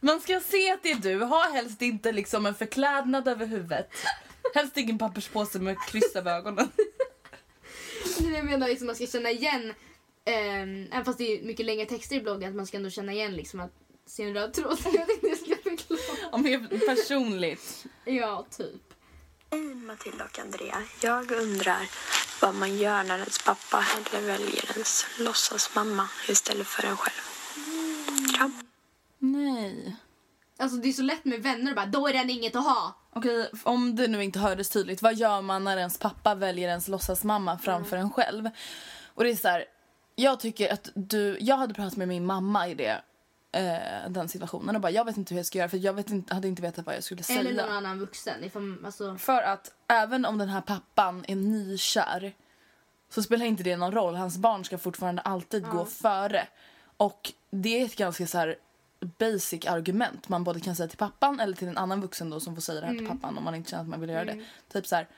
S1: Man ska se att det är du. Ha helst inte liksom en förklädnad över huvudet. Helst ingen papperspåse med kryss över ögonen.
S2: Nej, Jag menar liksom man ska känna igen, ehm, även fast det är mycket längre texter i bloggen, att man ska ändå känna igen liksom att se en röd tråd. Jag vet inte hur jag ska förklara.
S1: Och mer personligt.
S2: Ja, typ.
S3: Hej Eh, Matilda och Andrea. Jag undrar vad man gör när ens pappa hellre väljer ens låtsasmamma istället för en själv. Kram.
S1: Nej.
S2: Alltså det är så lätt med vänner och bara då är den inget att ha.
S1: Okej, om det nu inte hördes tydligt. Vad gör man när ens pappa väljer ens låtsasmamma framför en själv? Och det är så här, jag tycker att du, jag hade pratat med min mamma i det eh, den situationen och bara jag vet inte hur jag ska göra för jag vet inte, hade inte vetat vad jag skulle säga.
S2: Eller någon annan vuxen. Ifall, alltså,
S1: För att även om den här pappan är nykär så spelar inte det någon roll. Hans barn ska fortfarande alltid gå före. Och det är ett ganska så här basic argument man både kan säga till pappan eller till en annan vuxen då som får säga det här till pappan om man inte känner att man vill göra det. Typ så här,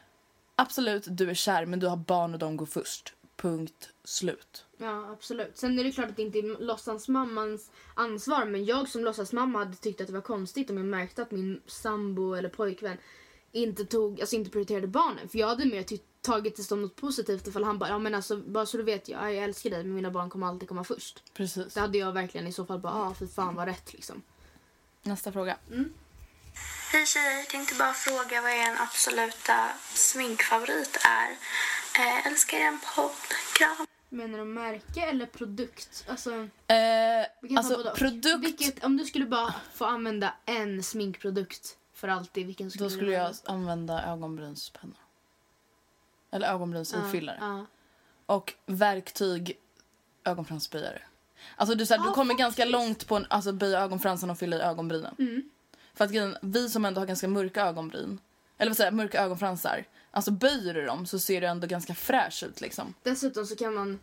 S1: absolut du är kär men du har barn och de går först. Punkt slut.
S2: ja, absolut. Sen är det klart att det inte är låtsasmammans ansvar men jag som låtsasmamma hade tyckt att det var konstigt om jag märkte att min sambo eller pojkvän inte, tog, alltså inte prioriterade barnen. För jag hade mer ty- tagit det som något positivt ifall han bara ja men alltså bara så du vet jag, jag älskar dig men mina barn kommer alltid komma först.
S1: Precis.
S2: Då hade jag verkligen i så fall bara ah fy fan vad rätt liksom.
S1: Nästa fråga.
S3: Hej tjejer, tänkte bara fråga vad er absoluta sminkfavorit är. Eh, älskar er podd, kram.
S2: Menar du märke eller produkt? Alltså, vi
S1: Eh,
S2: kan ta
S1: alltså
S2: både och.
S1: produkt.
S2: Vilket, om du skulle bara få använda en sminkprodukt för alltid, vilken skulle
S1: Då
S2: du
S1: skulle jag
S2: använda?
S1: använda ögonbrynspennor. Eller ögonbrynsutfyllare.
S2: Ja,
S1: Och verktyg, ögonfranssprayare. Alltså du, så här, du
S2: Ja,
S1: kommer ganska
S2: faktiskt. Mm.
S1: långt på en, alltså böja ögonfransen och fylla i ögonbrynen. För att grejen, vi som ändå har ganska mörka ögonbryn, eller vad säger jag, mörka ögonfransar. Alltså böjer du dem så ser du ändå ganska fräsch ut liksom.
S2: Dessutom så kan man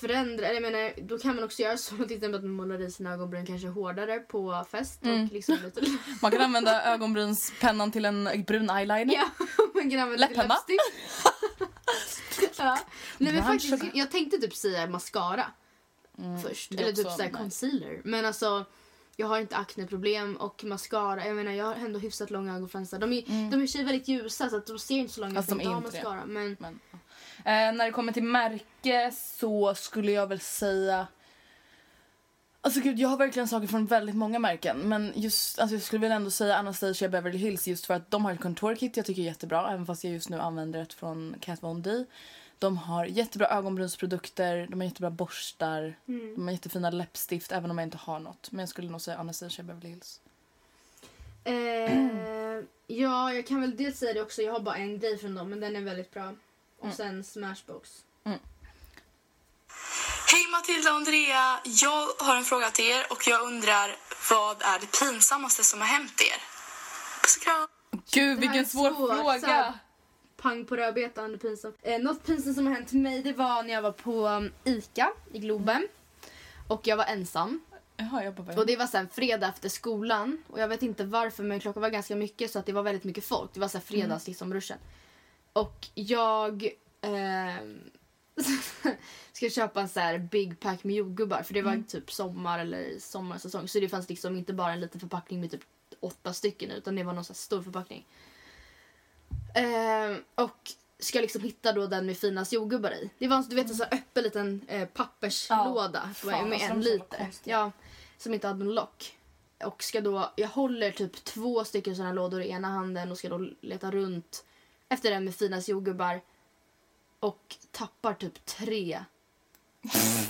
S2: förändra, eller jag menar, då kan man också göra så till exempel att man målar i sina ögonbryn kanske hårdare på fest
S1: Mm.
S2: och liksom lite...
S1: Man kan använda ögonbrynspennan till en brun eyeliner.
S2: ja, man kan använda lite
S1: Läpparna.
S2: läppstift. ja. Nej men
S1: Brown
S2: faktiskt,
S1: sugar.
S2: jag tänkte typ säga mascara först.
S1: Mm, det är
S2: Eller typ
S1: också
S2: såhär
S1: nice.
S2: concealer. Men alltså, jag har inte akneproblem och mascara, jag menar jag har ändå hyfsat långa ögonfransar. De är, de är i och för sig väldigt ljusa så att de ser inte så långa ut
S1: Alltså,
S2: om
S1: Mm. de
S2: jag
S1: är
S2: har
S1: inte det.
S2: mascara. Men
S1: Men, ja. eh, när det kommer till märke så skulle jag väl säga... Alltså gud, jag har verkligen saker från väldigt många märken. Men just, alltså jag skulle väl ändå säga Anastasia Beverly Hills just för att de har ett contour kit jag tycker är jättebra. Även fast jag just nu använder ett från Kat Von D. De har jättebra ögonbrynsprodukter, de har jättebra borstar, de har jättefina läppstift även om jag inte har något. Men jag skulle nog säga Anastasia Beverly Hills.
S2: Eh, ja, jag kan väl dels säga det också. Jag har bara en grej från dem, men den är väldigt bra. Och
S1: Mm.
S2: sen Smashbox.
S3: Hej Matilda och Andrea, jag har en fråga till er och jag undrar vad är det pinsammaste som har hänt er? Puss och kram.
S1: Gud,
S2: Det här är
S1: vilken svår
S2: svårt, så
S1: fråga!
S2: här- Pang på rödbetan, pinsamt. Eh, något pinsamt som har hänt mig, det var när jag var på um, ICA i Globen. Och jag var ensam.
S1: Jaha, jag bara...
S2: Och det var sen fredag efter skolan. Och jag vet inte varför men klockan var ganska mycket så att det var väldigt mycket folk. Det var så här fredags liksom ruschen. Och jag ehm, ska köpa en så här big pack med jordgubbar för det var typ sommar eller sommarsäsong. Så det fanns liksom inte bara en liten förpackning med typ åtta stycken utan det var någon så här stor förpackning. Ehm, och ska liksom hitta då den med finast jordgubbar i. Det var en, du vet, en så här öppen liten eh, papperslåda
S1: Mm. Ja, fan, alltså
S2: med en
S1: de är så jävla
S2: liter.
S1: konstiga.
S2: Ja, som inte hade någon lock. Och ska då, jag håller typ två stycken sådana lådor i ena handen och ska då leta runt efter den med finast jordgubbar. Och tappar typ tre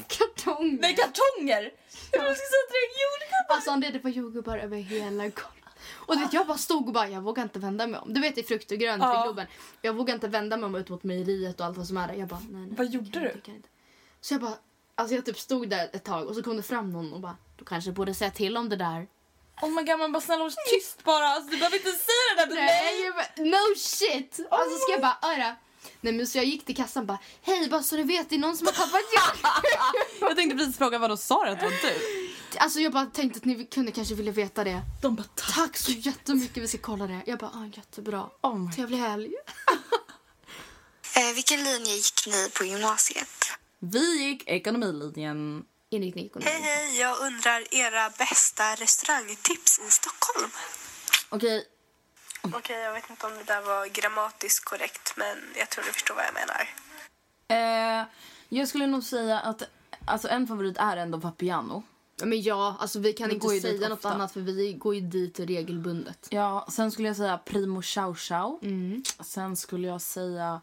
S2: kartonger.
S1: Nej, kartonger! Jag trodde du skulle säga tre jordgubbar!
S2: Alltså Andrea, det var jordgubbar över hela golvet. Och du vet, jag bara stod och bara, jag vågar inte vända mig om. Du vet i frukt och grönt
S1: Ja.
S2: i Globen. Jag vågar inte vända mig om ut mot mejeriet och allt vad som är där. Jag bara, nej, nej.
S1: Vad
S2: jag
S1: gjorde
S2: kan
S1: du?
S2: inte, jag kan inte. Så jag bara, alltså jag typ stod där ett tag och så kom det fram någon och bara, du kanske borde säga till om det där.
S1: Oh my god, man bara snälla håll tyst bara. Alltså, du behöver inte säga det där till
S2: Nej,
S1: mig.
S2: jag bara, no shit! Alltså ska jag bara, öra. Nej men så jag gick till kassan och bara, hej bara så du vet, det är någon som har tappat jordgubbar.
S1: Jag tänkte precis fråga vad då sa du att det var du?
S2: alltså jag bara tänkte att ni kunde kanske vilja veta det.
S1: De bara tack.
S2: Tack så jättemycket, vi ska kolla det. Jag bara, ah, jättebra.
S1: Oh my-
S2: Trevlig helg.
S4: Eh, vilken linje gick ni på gymnasiet?
S1: Vi gick ekonomilinjen.
S2: Inriktning ekonomi.
S3: Hej hej, jag undrar era bästa restaurangtips i Stockholm.
S1: Okej,
S3: Okej, jag vet inte om det där var grammatiskt korrekt men jag tror du förstår vad jag menar.
S1: eh, jag skulle nog säga att alltså, en favorit är ändå Vapiano.
S2: Ja, Men ja, alltså vi kan
S1: Vi går ju
S2: inte
S1: dit
S2: säga något
S1: ofta.
S2: annat för vi går ju dit regelbundet.
S1: Ja, sen skulle jag säga Primo Chow Chow.
S2: Mm.
S1: Sen skulle jag säga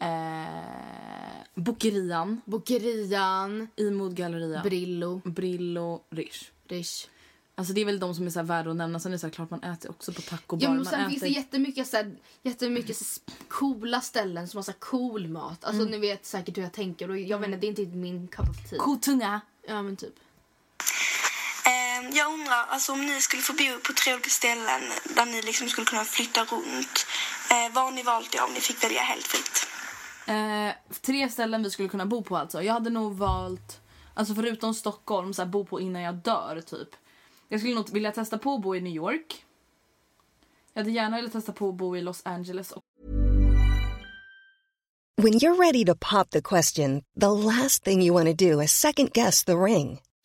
S1: eh, Bokerian
S2: Bokerian,
S1: i Modgalleria.
S2: Brillo,
S1: Brillo, Rish.
S2: Rish.
S1: Alltså det är väl de som är så här värda att nämna. Sen är det så här, klart man äter också på tacobar.
S2: Ja, men
S1: man
S2: sen finns det
S1: äter-
S2: jättemycket, så här, jättemycket så här, coola ställen som har så här, cool mat. Alltså
S1: Mm.
S2: ni vet säkert hur jag tänker och jag vet inte, det är inte min cup of tea.
S1: Kotunga.
S2: Ja men typ.
S4: Eh, jag undrar alltså, om ni skulle få bo på tre olika ställen där ni liksom skulle kunna flytta runt. Eh, vad har ni valt det om ni fick välja helt fritt?
S1: Eh, tre ställen vi skulle kunna bo på alltså. Jag hade nog valt, alltså förutom Stockholm, så här, bo på innan jag dör typ. Jag skulle nog vilja testa på att bo i New York. Jag hade gärna velat testa på att bo i Los Angeles och
S5: When you're ready to pop the question, the last thing you want to do is second guess the ring.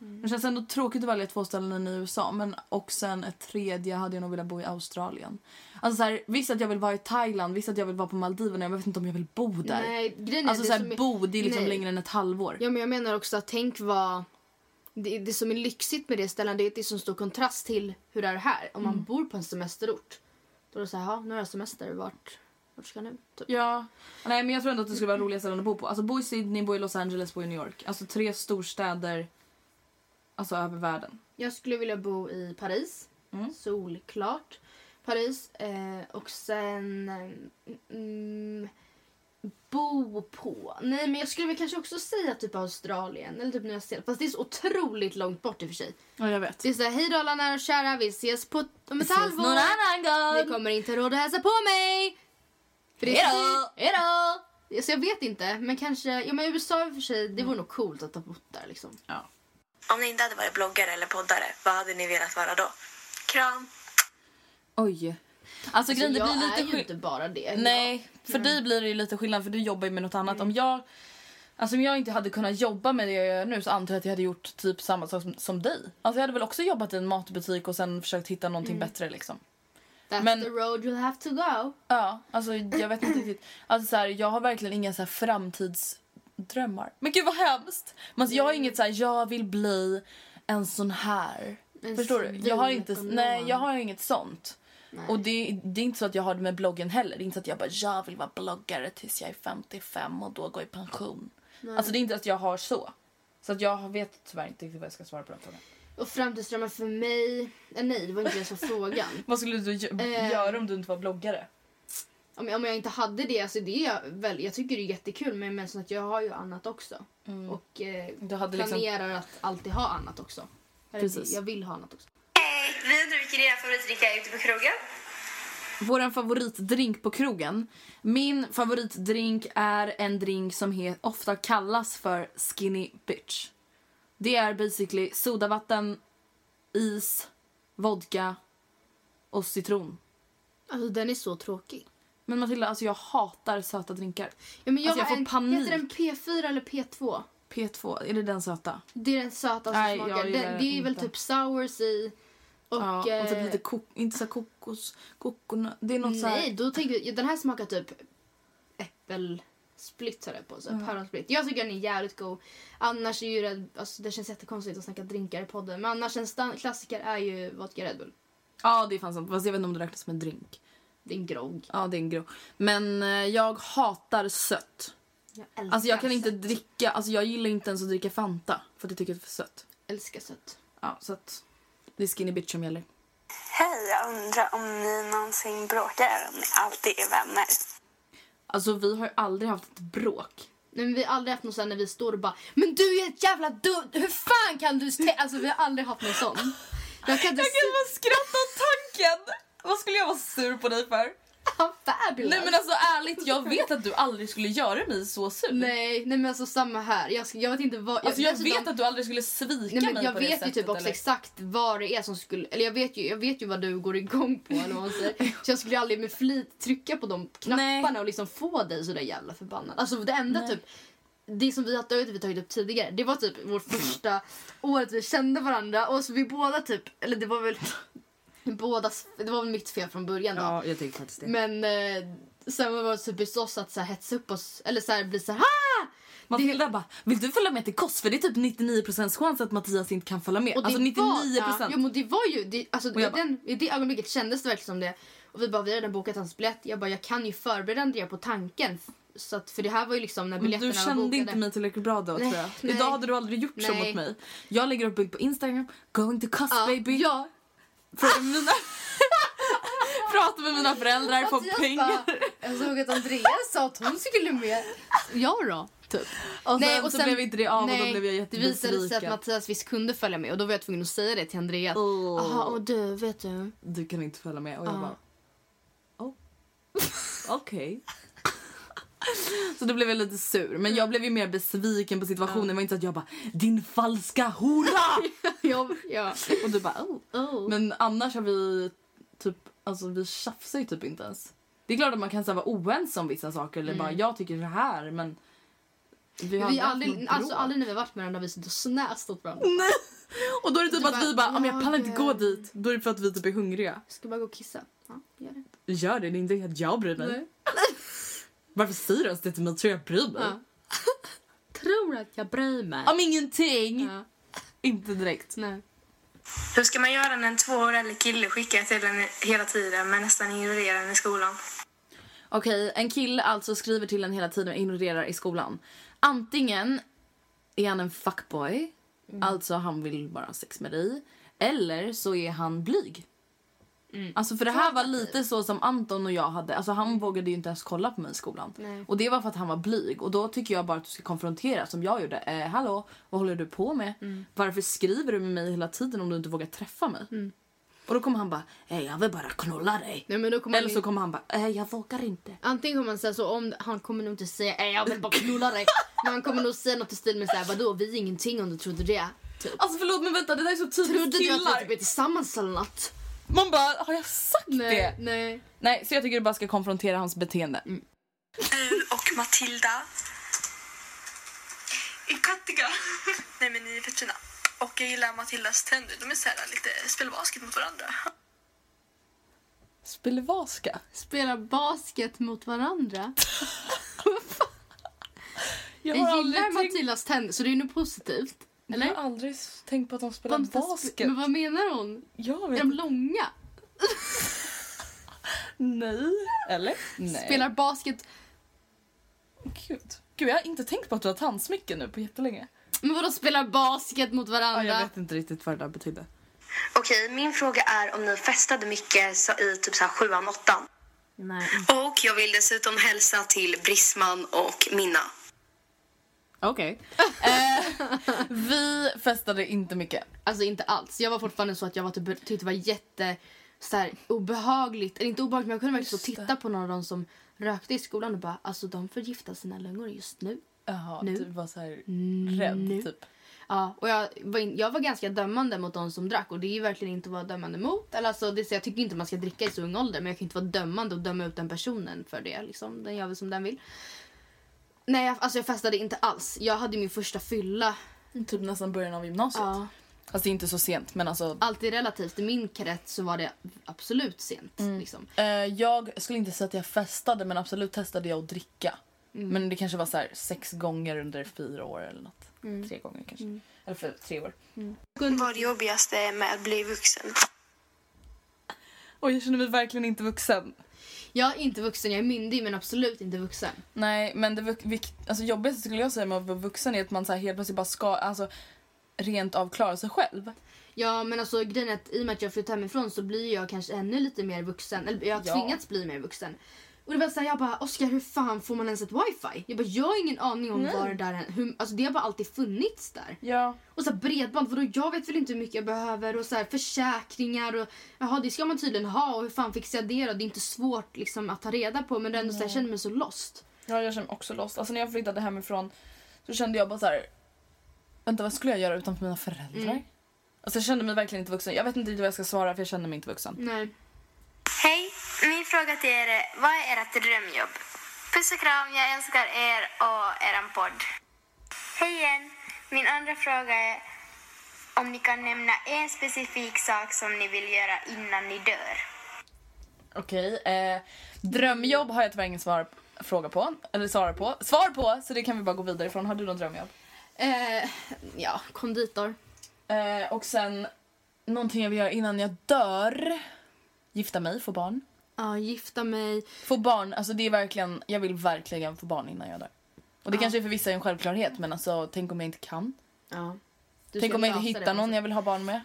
S2: Mm.
S1: Det känns ändå tråkigt att välja två ställen i USA. Men, och sen ett tredje hade jag nog velat bo i Australien. Alltså så här, visst att jag vill vara i Thailand, visst att jag vill vara på Maldiverna. Jag vet inte om jag vill bo där.
S2: Nej, grejen är
S1: alltså
S2: det
S1: så här,
S2: som är-
S1: bo, det är liksom
S2: nej.
S1: längre än ett halvår.
S2: Ja, men jag menar också att tänk vad... Det, det som är lyxigt med det stället det är att det är så stor kontrast till hur det är här. Om man
S1: Mm.
S2: bor på en semesterort. Då är det så här, "Ja, nu har jag semester. Vart, vart ska jag nu? Typ.
S1: Ja. Nej men jag tror ändå att det skulle vara roliga ställen att bo på. Alltså bo i Sydney, bo i Los Angeles, bo i New York. Alltså tre storstäder. Alltså över världen.
S2: Jag skulle vilja bo i Paris.
S1: Mm.
S2: Solklart. Paris. Eh, och sen... eh, Mm, bo på... Nej, men jag skulle väl kanske också säga typ Australien eller typ Nya Zeeland. Fast det är så otroligt långt bort i och för sig.
S1: Ja jag vet.
S2: Det är så här, hej då alla nära och kära, vi ses på om ett
S1: ses
S2: halvår.
S1: någon annan gång."
S2: Ni kommer inte ha råd att hälsa på mig. För det är
S1: Hejdå!
S2: Hejdå! Så jag vet inte, men kanske, ja men USA i och för sig, det
S1: Mm.
S2: vore nog coolt att ha bott där liksom.
S1: Ja.
S4: Om ni inte hade varit bloggare eller poddare, vad hade ni velat vara då? Kram!
S1: Oj. Alltså
S2: Så
S1: grejen det
S2: jag
S1: blir
S2: är
S1: lite
S2: ju
S1: skill-
S2: inte bara det.
S1: Nej, för dig blir det ju lite skillnad för du jobbar ju med något annat. Om jag Alltså om jag inte hade kunnat jobba med det jag gör nu så antar jag att jag hade gjort typ samma sak som, som dig. Alltså jag hade väl också jobbat i en matbutik och sen försökt hitta någonting bättre liksom.
S2: That's
S1: men-
S2: the road you'll have to go.
S1: Ja, alltså jag vet inte riktigt. Alltså så här, jag har verkligen inga så här framtidsdrömmar. Men gud vad hemskt! Men alltså, jag
S2: Mm.
S1: har inget så här, jag vill bli en sån här.
S2: En
S1: Förstår du? Jag har, inte,
S2: civilekonom.
S1: nej, jag har inget sånt. Och det, det är inte så att jag har det med bloggen heller. Det är inte så att jag bara, jag vill vara bloggare tills jag är 55 och då går i pension. Alltså det är inte att jag har så. Så att jag vet tyvärr inte riktigt vad jag ska svara på den frågan.
S2: Och framtidsdrömmar för mig, eh, nej det var inte ens som frågan.
S1: Vad skulle du gö-
S2: Eh.
S1: göra om du inte var bloggare?
S2: Om jag, om jag inte hade det, alltså det är jag väl, jag tycker det är jättekul men, men så att jag har ju annat också. Och eh,
S1: Mm. Du hade liksom-
S2: planerar att alltid ha annat också. Eller,
S1: Precis.
S2: Jag vill ha annat också.
S4: Hej! Vi undrar vilken era favoritdrink är ute på krogen.
S1: Vår favoritdrink på krogen. Min favoritdrink är en drink som he- ofta kallas för skinny bitch. Det är basically sodavatten, is, vodka och citron.
S2: Alltså den är så tråkig.
S1: Men Matilda, alltså jag hatar söta drinkar.
S2: Ja, men jag,
S1: Alltså, jag
S2: har
S1: får
S2: en,
S1: panik.
S2: Heter den P4 eller P2?
S1: P2, är det den söta?
S2: Det är den sötaste
S1: Nej, jag
S2: smaken.
S1: gillar
S2: Den,
S1: den
S2: det är väl
S1: inte.
S2: typ sours i. Och,
S1: ja, och typ
S2: eh,
S1: lite kok- inte så här kokos, kokorna. Det är något så
S2: Nej,
S1: här...
S2: då tänker jag, den här smakar typ äppelsplitt har det på sig.
S1: Mm.
S2: Päronsplitt. Jag tycker den är jävligt god. Annars är ju Red, alltså det känns jättekonstigt att snacka drinkar i podden. Men annars en stan- klassiker är ju vodka Red Bull.
S1: Ja, det är fan sant. Fast jag vet inte om det räknas som en drink.
S2: Det är en grogg.
S1: Ja, det är en grå. Men eh, jag hatar sött.
S2: Jag älskar
S1: Alltså jag kan inte
S2: sött.
S1: dricka, alltså jag gillar inte ens att dricka Fanta för att jag tycker det är för sött.
S2: Älskar sött.
S1: Ja, så att det är skinny bitch som gäller.
S3: Hej, jag undrar om ni någonsin bråkar eller om ni alltid är vänner.
S1: Alltså vi har ju aldrig haft ett bråk.
S2: Nej, men vi har aldrig haft någon sån här när vi står och bara Men du är ett jävla dum! Hur fan kan du... stä-" Alltså vi har aldrig haft någon sån. Jag kan inte
S1: Jag kan bara skratta åt tanken. Vad skulle jag vara sur på dig för?
S2: se... Fabulous.
S1: Nej men alltså ärligt, jag vet att du aldrig skulle göra mig så sur.
S2: Nej, nej men alltså samma här. Jag, ska- jag vet inte vad...
S1: Alltså jag
S2: dessutom-
S1: vet att du aldrig skulle svika
S2: Nej, men
S1: mig
S2: jag
S1: på det
S2: vet ju
S1: sättet.
S2: typ också
S1: eller?
S2: exakt vad det är som skulle... Eller jag vet ju, jag vet ju vad du går igång på. Eller vad man säger. Så jag skulle ju aldrig med flit trycka på de knapparna
S1: Nej.
S2: och liksom få dig så där jävla förbannad. Alltså det enda typ... Det som vi har tagit, vi tagit upp tidigare, det var typ vårt första året vi kände varandra. Och så vi båda typ... Eller det var väl... Bådas, det var väl mitt fel från början då.
S6: Ja, jag tycker faktiskt det.
S2: Men eh, sen var det typiskt oss att så här, hetsa upp oss. Eller så här, bli så här... "Ah!"
S1: Matilda bara, vill du följa med till Kos? För det är typ 99% chans att Mattias inte kan följa med.
S2: Och det
S1: Alltså
S2: Var, ja,
S1: 99%.
S2: jo, men det var ju, det, alltså,
S1: Och jag
S2: i, den, I det ögonblicket kändes det verkligen som det. Och vi bara, vi har redan bokat hans biljett. Jag bara, jag kan ju förbereda Andrea på tanken. Så att, för det här var ju liksom när
S1: Men
S2: biljetterna
S1: du
S2: var
S1: kände
S2: bokade.
S1: inte mig tillräckligt bra då
S2: Nej,
S1: tror jag.
S2: nej.
S1: Idag hade du aldrig gjort så
S2: Nej.
S1: mot mig. Jag lägger upp bild på Instagram, going to Kos
S2: ja,
S1: baby.
S2: Ja.
S1: Frågar med mina... Pratar med mina föräldrar, får
S2: Mattias
S1: pengar.
S2: Alltså, bara, jag såg att Andreas sa att hon skulle med. Jag då? Typ.
S1: Och sen så blev inte det av och då blev jag
S2: Det visade sig att
S1: jättebesviken.
S2: Mattias visst kunde följa med och då var jag tvungen att säga det till Andreas.
S1: Åh.
S2: Jaha, och du, vet du?
S1: Du kan inte följa med. Och jag
S2: Ja.
S1: bara... Oh. Okej. Så då blev jag lite sur. Men jag blev ju mer besviken på situationen. Det var inte så att jag bara din falska hora!
S2: Jag, ja.
S1: och du bara oh.
S2: Oh.
S1: Men annars har vi typ, alltså vi tjafsar ju typ inte ens. Det är klart att man kan så här, vara oense om vissa saker eller bara jag tycker så här men Mm. vi har
S2: Vi
S1: aldrig
S2: har
S1: haft
S2: aldrig,
S1: något
S2: alltså,
S1: bråk.
S2: aldrig när vi har varit med varandra har vi suttit och snäst åt varandra.
S1: Nej. Och då är det typ
S2: Du
S1: att
S2: bara,
S1: vi bara, ja, men jag
S2: "Jag
S1: pallar inte gå
S2: dör."
S1: dit. Då är det för att vi typ är hungriga.
S2: Ska bara gå och kissa? Ja, gör det.
S1: Gör det, det är inte att jag bryr mig. Varför säger du ens det till mig? Tror jag bryr mig?
S2: Ja. Tror att jag bryr mig.
S1: Om ingenting!
S2: Ja.
S1: Inte direkt.
S2: Nej.
S3: Hur ska man göra när en tvåårig kille skickar till en hela tiden men nästan ignorerar en i skolan?
S1: Okej, en kille alltså skriver till en hela tiden och ignorerar i skolan. Antingen är han en fuckboy, alltså han vill bara ha sex med dig. Eller så är han blyg. Alltså för det här var lite så som Anton och jag hade. Alltså han vågade ju inte ens kolla på mig i skolan.
S2: Nej.
S1: Och det var för att han var blyg. Och då tycker jag bara att du ska konfrontera som jag gjorde. Eh, hallå, vad håller du på med? Varför skriver du med mig hela tiden om du inte vågar träffa mig? Och då kommer han bara, eh, jag vill bara knulla dig.
S2: Nej, men då kommer
S1: Eller
S2: han
S1: så
S2: in-
S1: kommer han bara, eh, jag vågar inte.
S2: Antingen kommer han säga så om han kommer nog inte säga "Ey, jag vill bara knulla dig. Men han kommer nog säga något i stil med så här, vadå vi är ingenting om du trodde det. Typ.
S1: Alltså förlåt men vänta det där är så
S2: Trodde
S1: typiskt
S2: du att
S1: killar.
S2: vi typ är tillsammans eller något?
S1: Man bara, har jag sagt
S2: Nej,
S1: det?
S2: nej.
S1: Nej, så jag tycker du bara ska konfrontera hans beteende.
S3: Du och Matilda. I Kattegatt. Nej men ni är fett fina. Och jag gillar Matildas tänder. De är så här lite spelar basket mot varandra.
S1: Spelvaska.
S2: Spela basket mot varandra.
S1: Jag
S2: Jag gillar
S1: aldrig tänkt-
S2: Matildas tänder så det är nog positivt. Eller?
S1: Jag har aldrig tänkt på att de spelar
S2: Vad-
S1: basket.
S2: Men vad menar hon?
S1: Jag
S2: Är
S1: vet
S2: de
S1: inte.
S2: långa?
S1: Nej. Eller? Nej.
S2: Spelar basket
S1: Gud. Gud, jag har inte tänkt på att du har tandsmycke nu på jättelänge.
S2: Men vadå spelar basket mot
S1: Ja,
S2: varandra?
S1: jag vet inte riktigt vad det där betydde.
S4: Okej, min fråga är om ni festade mycket så- i typ så här sjuan, åttan.
S2: Nej.
S4: Och jag vill dessutom hälsa till Brisman och Minna.
S1: Okej. eh, vi festade inte mycket.
S2: Alltså inte alls. Jag var fortfarande så att jag var typ, tyckte det var jätte så här, obehagligt. Eller inte obehagligt men jag kunde verkligen så titta på någon av dem som rökte i skolan och bara alltså de förgiftar sina lungor just nu.
S1: Jaha,
S2: Nu. Mm,
S1: du var så här rädd
S2: nu.
S1: typ.
S2: Ja, och jag var, in, jag var ganska dömande mot de som drack och det är ju verkligen inte att vara dömande mot. Eller alltså, det, är så jag tycker inte man ska dricka i så ung ålder men jag kan inte vara dömande och döma ut den personen för det. Liksom. Den gör väl som den vill. Nej, jag, alltså jag festade inte alls. Jag hade min första fylla.
S1: Typ nästan början av gymnasiet.
S2: Ja.
S1: Fast det är inte så sent men alltså.
S2: Alltid relativt. I min krets så var det absolut sent. Liksom.
S1: Eh, jag skulle inte säga att jag festade men absolut testade jag att dricka. Men det kanske var så här sex gånger under fyra år eller något. Tre gånger kanske. Eller för tre år.
S3: Vad är det jobbigaste med att bli vuxen?
S1: Och jag känner mig verkligen inte vuxen.
S2: Jag är inte vuxen, jag är myndig men absolut inte vuxen.
S1: Nej, men det vux- vik- alltså, jobbigaste skulle jag säga med att vara vuxen är att man så här helt plötsligt bara ska alltså, rent av klara sig själv.
S2: Ja men alltså grejen är att i och med att jag flyttat hemifrån så blir jag kanske ännu lite mer vuxen. Eller jag har
S1: Ja.
S2: tvingats bli mer vuxen.
S7: Och det var så här, jag bara Oskar hur fan får man ens ett wifi? Jag bara jag har ingen aning om var det där hur, alltså det har bara alltid funnits där.
S1: Ja.
S7: Och så här, bredband, vadå jag vet väl inte hur mycket jag behöver och så här, försäkringar och jaha det ska man tydligen ha och hur fan fixar jag det då? Det är inte svårt liksom att ta reda på men det är ändå så här, jag känner mig så lost.
S1: ja, jag känner mig också lost. Alltså när jag flyttade hemifrån så kände jag bara så här. Vänta, vad skulle jag göra utanför mina föräldrar? Alltså jag kände mig verkligen inte vuxen. Jag vet inte riktigt vad jag ska svara för jag kände mig inte vuxen.
S7: Nej.
S4: Hej! Min fråga till er är, vad är ert drömjobb? Puss och kram, jag älskar er och eran podd. Hej igen! Min andra fråga är om ni kan nämna en specifik sak som ni vill göra innan ni dör.
S1: Okej. Eh, drömjobb har jag tyvärr ingen svar, fråga på. Eller svar på. Svar på! Så det kan vi bara gå vidare ifrån. Har du något drömjobb?
S7: Eh, ja, konditor.
S1: Eh, och sen någonting jag vill göra innan jag dör. Gifta mig, få barn.
S7: Ja, gifta mig.
S1: Få barn, alltså det är verkligen, jag vill verkligen få barn innan jag dör. Och det kanske är för vissa en självklarhet men alltså tänk om jag inte kan.
S7: Ja. Du
S1: tänk
S7: ska
S1: om jag inte
S7: lösa det,
S1: hittar någon
S7: alltså.
S1: jag vill ha barn med.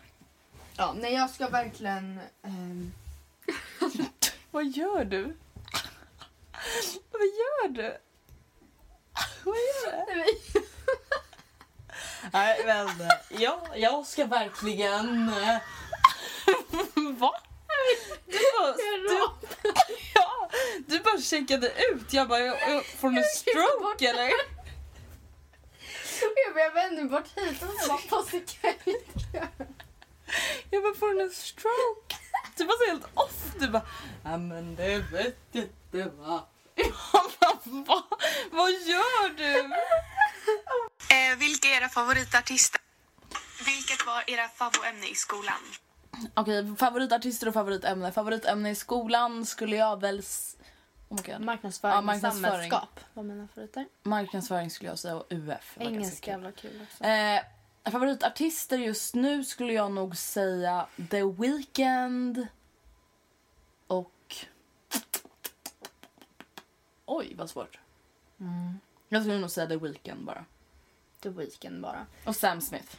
S7: Ja, nej jag ska verkligen... ehm,
S1: Vad gör du? Vad gör du? Vad gör du? Nej men, eh, ja, jag ska verkligen... eh, Va? Du bara, du,
S2: typ
S1: ja, du bara checkade ut. Jag bara, jag- jag- får du en stroke eller?
S7: Jag bara, jag vänder mig bort hit och så bara positivt.
S1: Jag bara, får du en stroke? Du var så helt off. Du bara, ja men det vet jag inte va. Jag bara, va? Vad gör du?
S3: Eh, vilka är era favoritartister? Vilket var era favoritämne i skolan?
S1: Okej, favoritartister och favoritämne. Favoritämne i skolan skulle jag väl... s- Oh my God.
S2: Marknadsföring,
S1: Ja, marknadsföring.
S2: samhällsskap. Vad menar favoriter?
S1: Marknadsföring skulle jag säga och UF. var ganska
S2: Engelska
S1: kul.
S2: var kul också.
S1: Eh, favoritartister just nu skulle jag nog säga The Weeknd och... Oj, vad svårt. Jag skulle nog säga The Weeknd bara.
S2: The Weeknd bara.
S1: Och Sam Smith.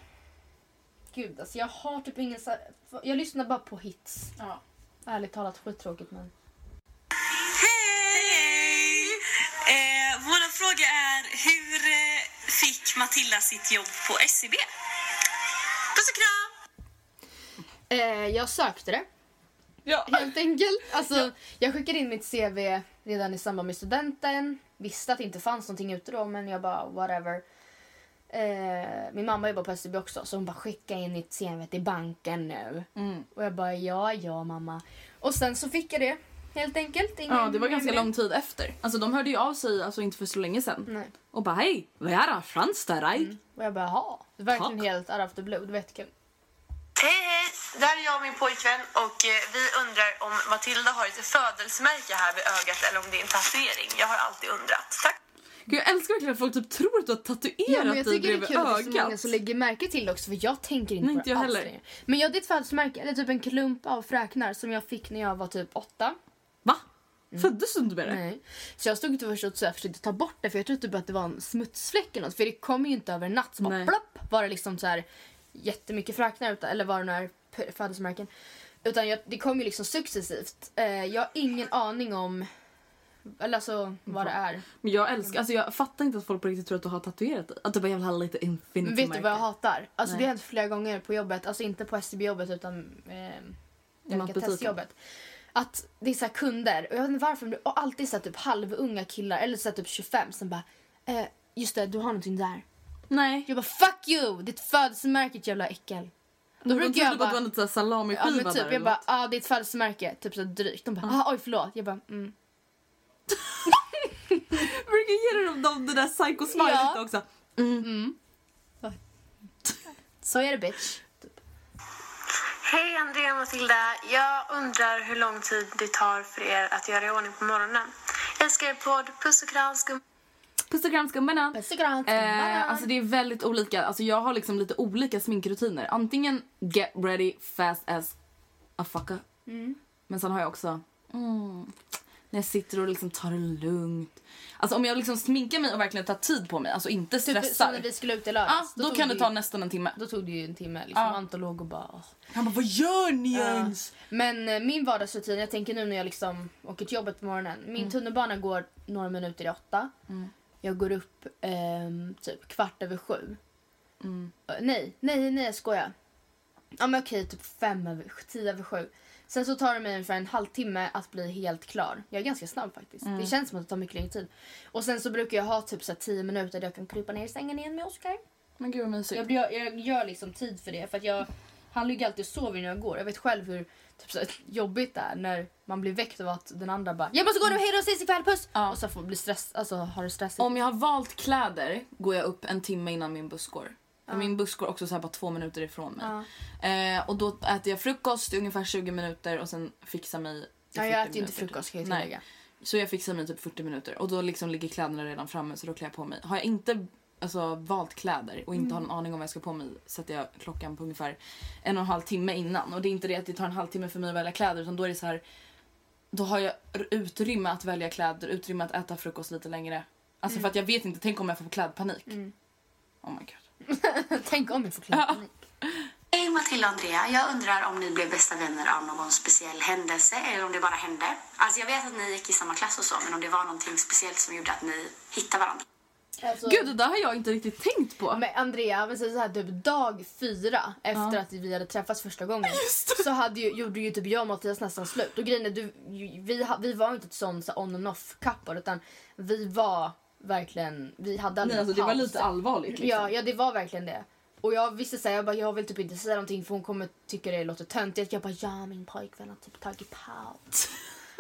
S2: Gud alltså jag har typ ingen... så- Jag lyssnar bara på hits.
S1: Ja.
S2: Ärligt talat skittråkigt men.
S3: Hej! Eh, Vår fråga är hur eh, fick Matilda sitt jobb på E SCB? Puss och kram!
S7: Eh, jag sökte det,
S1: Ja.
S7: helt enkelt. Alltså,
S2: Jag skickade in mitt CV redan i samband med studenten. Visste att det inte fanns någonting ute då men jag bara whatever. Eh, min mamma jobbar på SEB också så hon bara skicka in ditt CV till banken nu.
S1: Mm.
S2: Och jag bara ja ja mamma. Och sen så fick jag det helt enkelt. Ingen
S1: Ja, det var ganska lång tid efter. Alltså de hörde ju av sig alltså, inte för så länge sedan.
S2: Nej. Mm.
S1: Och bara hej, vad är det? Frans där, right?
S2: Och jag bara jaha. Det var Verkligen
S1: Tack.
S2: helt out of the blue. Det var jättekul.
S3: Hej hej! Där är jag och min pojkvän och eh, vi undrar om Matilda har ett födelsemärke här vid ögat eller om det är en tatuering. Jag har alltid undrat. Tack!
S1: Gud, jag älskar verkligen att folk typ tror att du har tatuerat
S2: Ja, men
S1: dig
S2: jag tycker det är
S1: bredvid
S2: kul att det är så många
S1: ögat.
S2: som lägger märke till det också för jag tänker inte
S1: Nej,
S2: på
S1: inte
S2: det
S1: jag
S2: alls
S1: heller.
S2: längre. Men jag hade ett födelsemärke, eller typ en klump av fräknar som jag fick när jag var typ åtta.
S1: Va? Föddes du inte med det?
S2: Mm. Nej. Så jag stod inte först och så här försökte ta bort det för jag trodde typ att det var en smutsfläck eller något för det kom ju inte över en natt så bara
S1: Nej.
S2: plopp var det liksom så här jättemycket fräknar utan, eller var det några p- födelsemärken. Utan jag, det kom ju liksom successivt. Eh, jag har ingen aning om eller alltså vad det är.
S1: Men jag älskar, alltså jag fattar inte att folk på riktigt tror att du har tatuerat dig. Att du bara jag vill ha lite infinity
S2: Men vet du vad jag hatar? Alltså
S1: Nej.
S2: det har hänt flera gånger på jobbet, alltså inte på SCB-jobbet utan eh,
S1: Matbutiken.
S2: jobbet. Att det är så här kunder, och jag vet inte varför, men det är alltid så här typ halvunga killar eller så här typ 25 som bara eh, just det, du har någonting där.
S1: Nej.
S2: Jag bara fuck you, ditt födelsemärke ditt jävla äckel. Då
S1: Jag
S2: brukar
S1: trodde bara typ att
S2: jag
S1: det var
S2: bara,
S1: något så här salamiskiva
S2: ja men
S1: där
S2: typ
S1: eller
S2: jag bara ah, det är ett födelsemärke, typ så här drygt. De bara ah, oj förlåt. Jag bara mm.
S1: något. Jag brukar ge dem de, det där psycho-smilet
S2: Ja.
S1: också.
S2: Så är det bitch. Typ.
S3: Hej Andrea och Matilda! Jag undrar hur lång tid det tar för er att göra i ordning på morgonen. Älskar er podd, puss och kram skum...
S1: Puss och kram skummarna.
S2: Puss och kram, skummarna.
S1: Eh, alltså det är väldigt olika. Alltså jag har liksom lite olika sminkrutiner. Antingen get ready fast as a fucker. Men sen har jag också mm, När jag sitter och liksom tar det lugnt. Alltså om jag liksom sminkar mig och verkligen tar tid på mig, alltså inte
S2: Typ som
S1: stressar.
S2: när vi skulle ut i
S1: Ja,
S2: lördags.
S1: då,
S2: tog
S1: kan det
S2: ju-
S1: ta nästan en timme.
S2: Då tog det ju en timme. Liksom.
S1: Ja.
S2: Anton låg och bara... åh.
S1: Han bara, vad gör ni ens?
S2: Men eh, min vardagsrutin, jag tänker nu när jag liksom åker till jobbet på morgonen. Min tunnelbana går några minuter i åtta. Jag går upp ehm, typ kvart över sju. Eh, Nej, nej, nej jag skojar. Ja men okej, typ fem över, tio över sju. Sen så tar det mig ungefär en halvtimme att bli helt klar. Jag är ganska snabb faktiskt. Det känns som att det tar mycket längre tid. Och sen så brukar jag ha typ så här tio minuter där jag kan krypa ner i sängen igen med Oscar.
S1: Men gud vad mysigt.
S2: Jag, blir- jag, jag gör liksom tid för det. För att jag, han ligger alltid och sover innan jag går. Jag vet själv hur typ, så här, jobbigt det är när man blir väckt av att den andra bara “Jag måste gå nu, hejdå, ses ikväll, puss!”
S1: Ja.
S2: Och så får, blir stress, alltså, har det stressigt.
S1: Om jag har valt kläder går jag upp en timme innan min buss går. För Min buss går också så här bara två minuter ifrån mig. Eh, och då äter jag frukost i ungefär 20 minuter och sen fixar mig i
S2: ja,
S1: 40
S2: jag äter ju inte
S1: minuter.
S2: frukost kan jag
S1: Nej.
S2: tillägga.
S1: Så jag fixar mig i typ 40 minuter och då liksom ligger kläderna redan framme så då klär jag på mig. Har jag inte alltså, valt kläder och inte har
S2: Mm.
S1: någon aning om vad jag ska på mig sätter jag klockan på ungefär en och en halv timme innan. Och det är inte det att det tar en halvtimme för mig att välja kläder utan då är det så här då har jag r- utrymme att välja kläder, utrymme att äta frukost lite längre. Alltså
S2: Mm.
S1: för att jag vet inte, tänk om jag får klädpanik. Oh my god.
S2: Tänk om jag får klädpanik.
S3: Hej Matilda och Andrea. Jag undrar om ni blev bästa vänner av någon speciell händelse eller om det bara hände. Alltså jag vet att ni gick i samma klass och så, men om det var någonting speciellt som gjorde att ni hittade varandra.
S2: Alltså,
S1: Gud, det där har jag inte riktigt tänkt på.
S2: Men Andrea, men så så här, typ dag fyra efter att vi hade träffats första gången så hade ju, gjorde ju typ jag och Mattias nästan slut. Och grejen är, du, ju- vi, ha- vi var inte ett sånt så här on and off couple utan vi var verkligen, vi hade aldrig
S1: Nej, alltså, det var
S2: paus.
S1: lite allvarligt liksom.
S2: Ja, ja, det var verkligen det. Och jag visste såhär, jag bara jag vill typ inte säga någonting för hon kommer tycka det låter töntigt. Jag bara ja min pojkvän har typ tagit paus.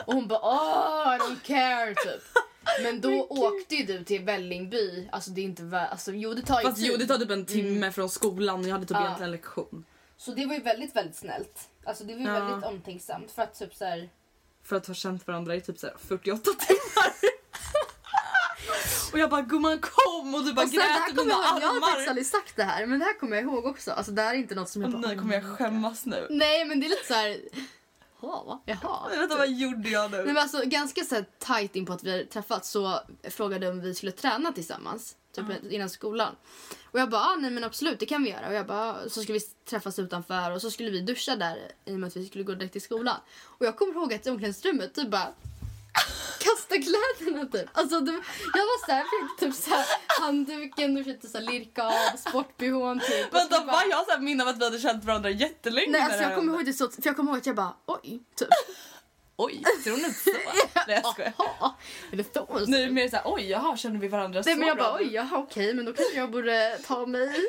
S2: Och hon bara åh I don't care typ. Men då åkte ju du till Vällingby. Alltså det är inte vä- alltså jo det tar ju
S1: Fast
S2: tid.
S1: jo, det tar typ en timme från skolan och jag hade typ
S2: Mm. Ja.
S1: egentligen lektion.
S2: Så det var ju väldigt väldigt snällt. Alltså det var ju
S1: Ja.
S2: väldigt omtänksamt för att typ såhär
S1: för att ha känt varandra i typ så här 48 timmar. och jag bara gumman kom och du bara
S2: Och sen, Alltså, det här
S1: grät i
S2: kommer
S1: mina
S2: jag, ihåg- jag har faktiskt
S1: armar.
S2: aldrig sagt det här men det här kommer jag ihåg också. Alltså det här är inte något som jag bara,
S1: Nej kommer jag skämmas nu.
S2: Nej men det är lite såhär, jaha va? Jaha.
S1: Vänta vad gjorde jag nu?
S2: Nej, men alltså, ganska så här, tajt in på att vi hade träffats så frågade de om vi skulle träna tillsammans typ innan skolan. Och jag bara, ah, nej men absolut det kan vi göra. Och jag bara, så skulle vi träffas utanför och så skulle vi duscha där i och med att vi skulle gå direkt till skolan. Och jag kommer ihåg att i omklädningsrummet typ bara kasta kläderna typ. Alltså det, jag var såhär, försökte typ såhär handduken och försökte såhär lirka av sportbhn typ. Och
S1: Vänta
S2: skulle bara-
S1: va? Jag har så här minne av att vi hade känt varandra jättelänge.
S2: Nej
S1: när
S2: alltså
S1: det
S2: jag
S1: här
S2: kommer
S1: hände.
S2: ihåg det så, för jag kommer ihåg att jag bara, oj typ.
S1: Oj, tror ni så? Nej jag skojar.
S2: Jaha, är det så? hon
S1: Nu är det mer såhär oj jaha känner vi varandra
S2: Nej
S1: så
S2: men jag
S1: bra?
S2: bara oj jaha okej men då kanske jag borde ta mig. Nej,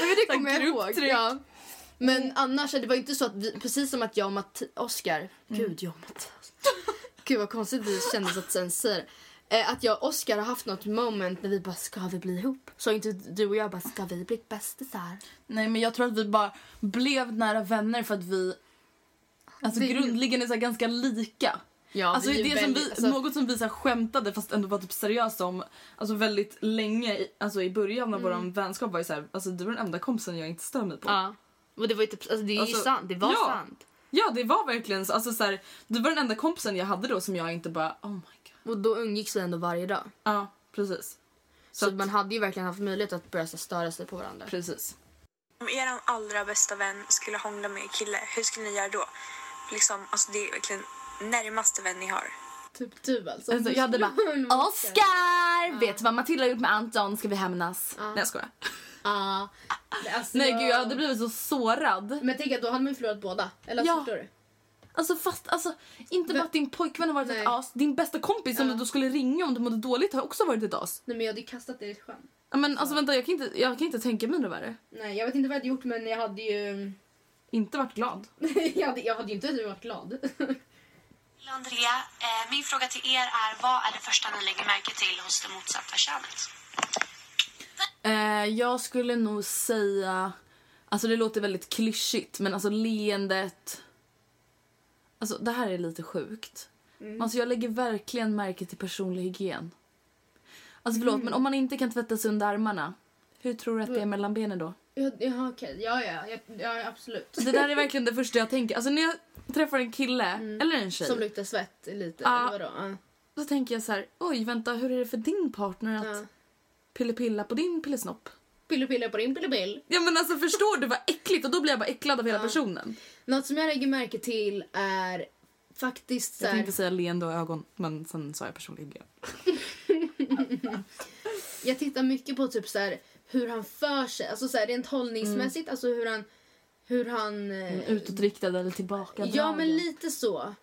S2: men det
S1: här
S2: kommer jag ihåg.
S1: grupptryck.
S2: Ja. Men annars det var ju inte så att vi, precis som att jag och Matt, Oscar, gud jag och Mattias. gud vad konstigt det kändes att sen säga det. Eh, att jag och Oscar har haft något moment när vi bara ska vi bli ihop? Så inte du och jag bara ska vi bli bästisar?
S1: Nej men jag tror att vi bara blev nära vänner för att vi alltså
S2: Det-
S1: grundligen är så här ganska lika.
S2: Ja,
S1: alltså,
S2: vi är
S1: det
S2: ju
S1: som
S2: väldigt-
S1: vi,
S2: alltså-
S1: Något som vi så här skämtade fast ändå var typ seriöst om alltså väldigt länge i, alltså, i början av vår vänskap var ju så här, alltså du är den enda kompisen jag inte stör mig på.
S2: Mm. Ja. Och det var ju typ, alltså det är ju
S1: Alltså,
S2: sant, det var
S1: ja.
S2: sant.
S1: Ja det var verkligen så, alltså, så här, du var den enda kompisen jag hade då som jag inte bara oh my god.
S2: Och då umgicks vi ändå varje dag.
S1: Ja precis.
S2: Så, att man hade ju verkligen haft möjlighet att börja så här störa sig på varandra.
S1: Precis.
S3: Om er allra bästa vän skulle hångla med en kille, hur skulle ni göra då? Liksom, alltså det är verkligen närmaste vän ni har.
S2: Typ du alltså.
S1: Alltså, jag hade bara Oscar! Vet du vad Matilda har gjort med Anton? Ska vi hämnas? Nej jag skojar.
S2: Ja. Alltså,
S1: Nej gud jag hade blivit så sårad.
S2: Men tänk att då hade man ju förlorat båda. Eller
S1: Ja.
S2: ja. förstår du?
S1: Alltså fast alltså, inte bara att din pojkvän har varit ett
S2: Nej.
S1: as. Din bästa kompis som
S2: Ja.
S1: du då skulle ringa om du mådde dåligt har också varit ett as.
S2: Nej men jag hade ju kastat det i ett sjön.
S1: Ja, Men alltså vänta jag kan inte, jag kan inte tänka mig något värre.
S2: Nej jag vet inte vad jag hade gjort men jag hade ju...
S1: Inte varit glad.
S2: jag, hade, jag hade ju inte varit glad.
S3: Andrea, eh, min fråga till er är vad är det första ni lägger märke till hos det motsatta könet?
S1: Eh, jag skulle nog säga, alltså det låter väldigt klyschigt men alltså leendet. Alltså det här är lite sjukt. Alltså jag lägger verkligen märke till personlig hygien. Mm. Alltså förlåt men om man inte kan tvätta sig under armarna, hur tror du att det är mellan benen då?
S2: Ja, ja, okej. Ja, ja, ja, ja, absolut.
S1: Det där är verkligen det första jag tänker. Alltså när jag träffar en kille eller en tjej
S2: Som luktar svett lite.
S1: Ja.
S2: Eller vadå? Ah. Ja.
S1: så tänker jag så här, oj vänta hur är det för din partner att
S2: Ja.
S1: pillepilla på din pillesnopp?
S2: Pillopilla på din pillopill.
S1: Ja men alltså förstår du vad äckligt och då blir jag bara äcklad av hela personen.
S2: Något som jag lägger märke till är faktiskt så
S1: Jag
S2: här,
S1: tänkte säga leende och ögon men sen sa jag personlig hygien.
S2: jag tittar mycket på typ så här, hur han för sig, alltså så här, rent hållningsmässigt, alltså hur han, hur han... eh,
S1: Utåtriktad eller tillbaka.
S2: Ja, men lite så.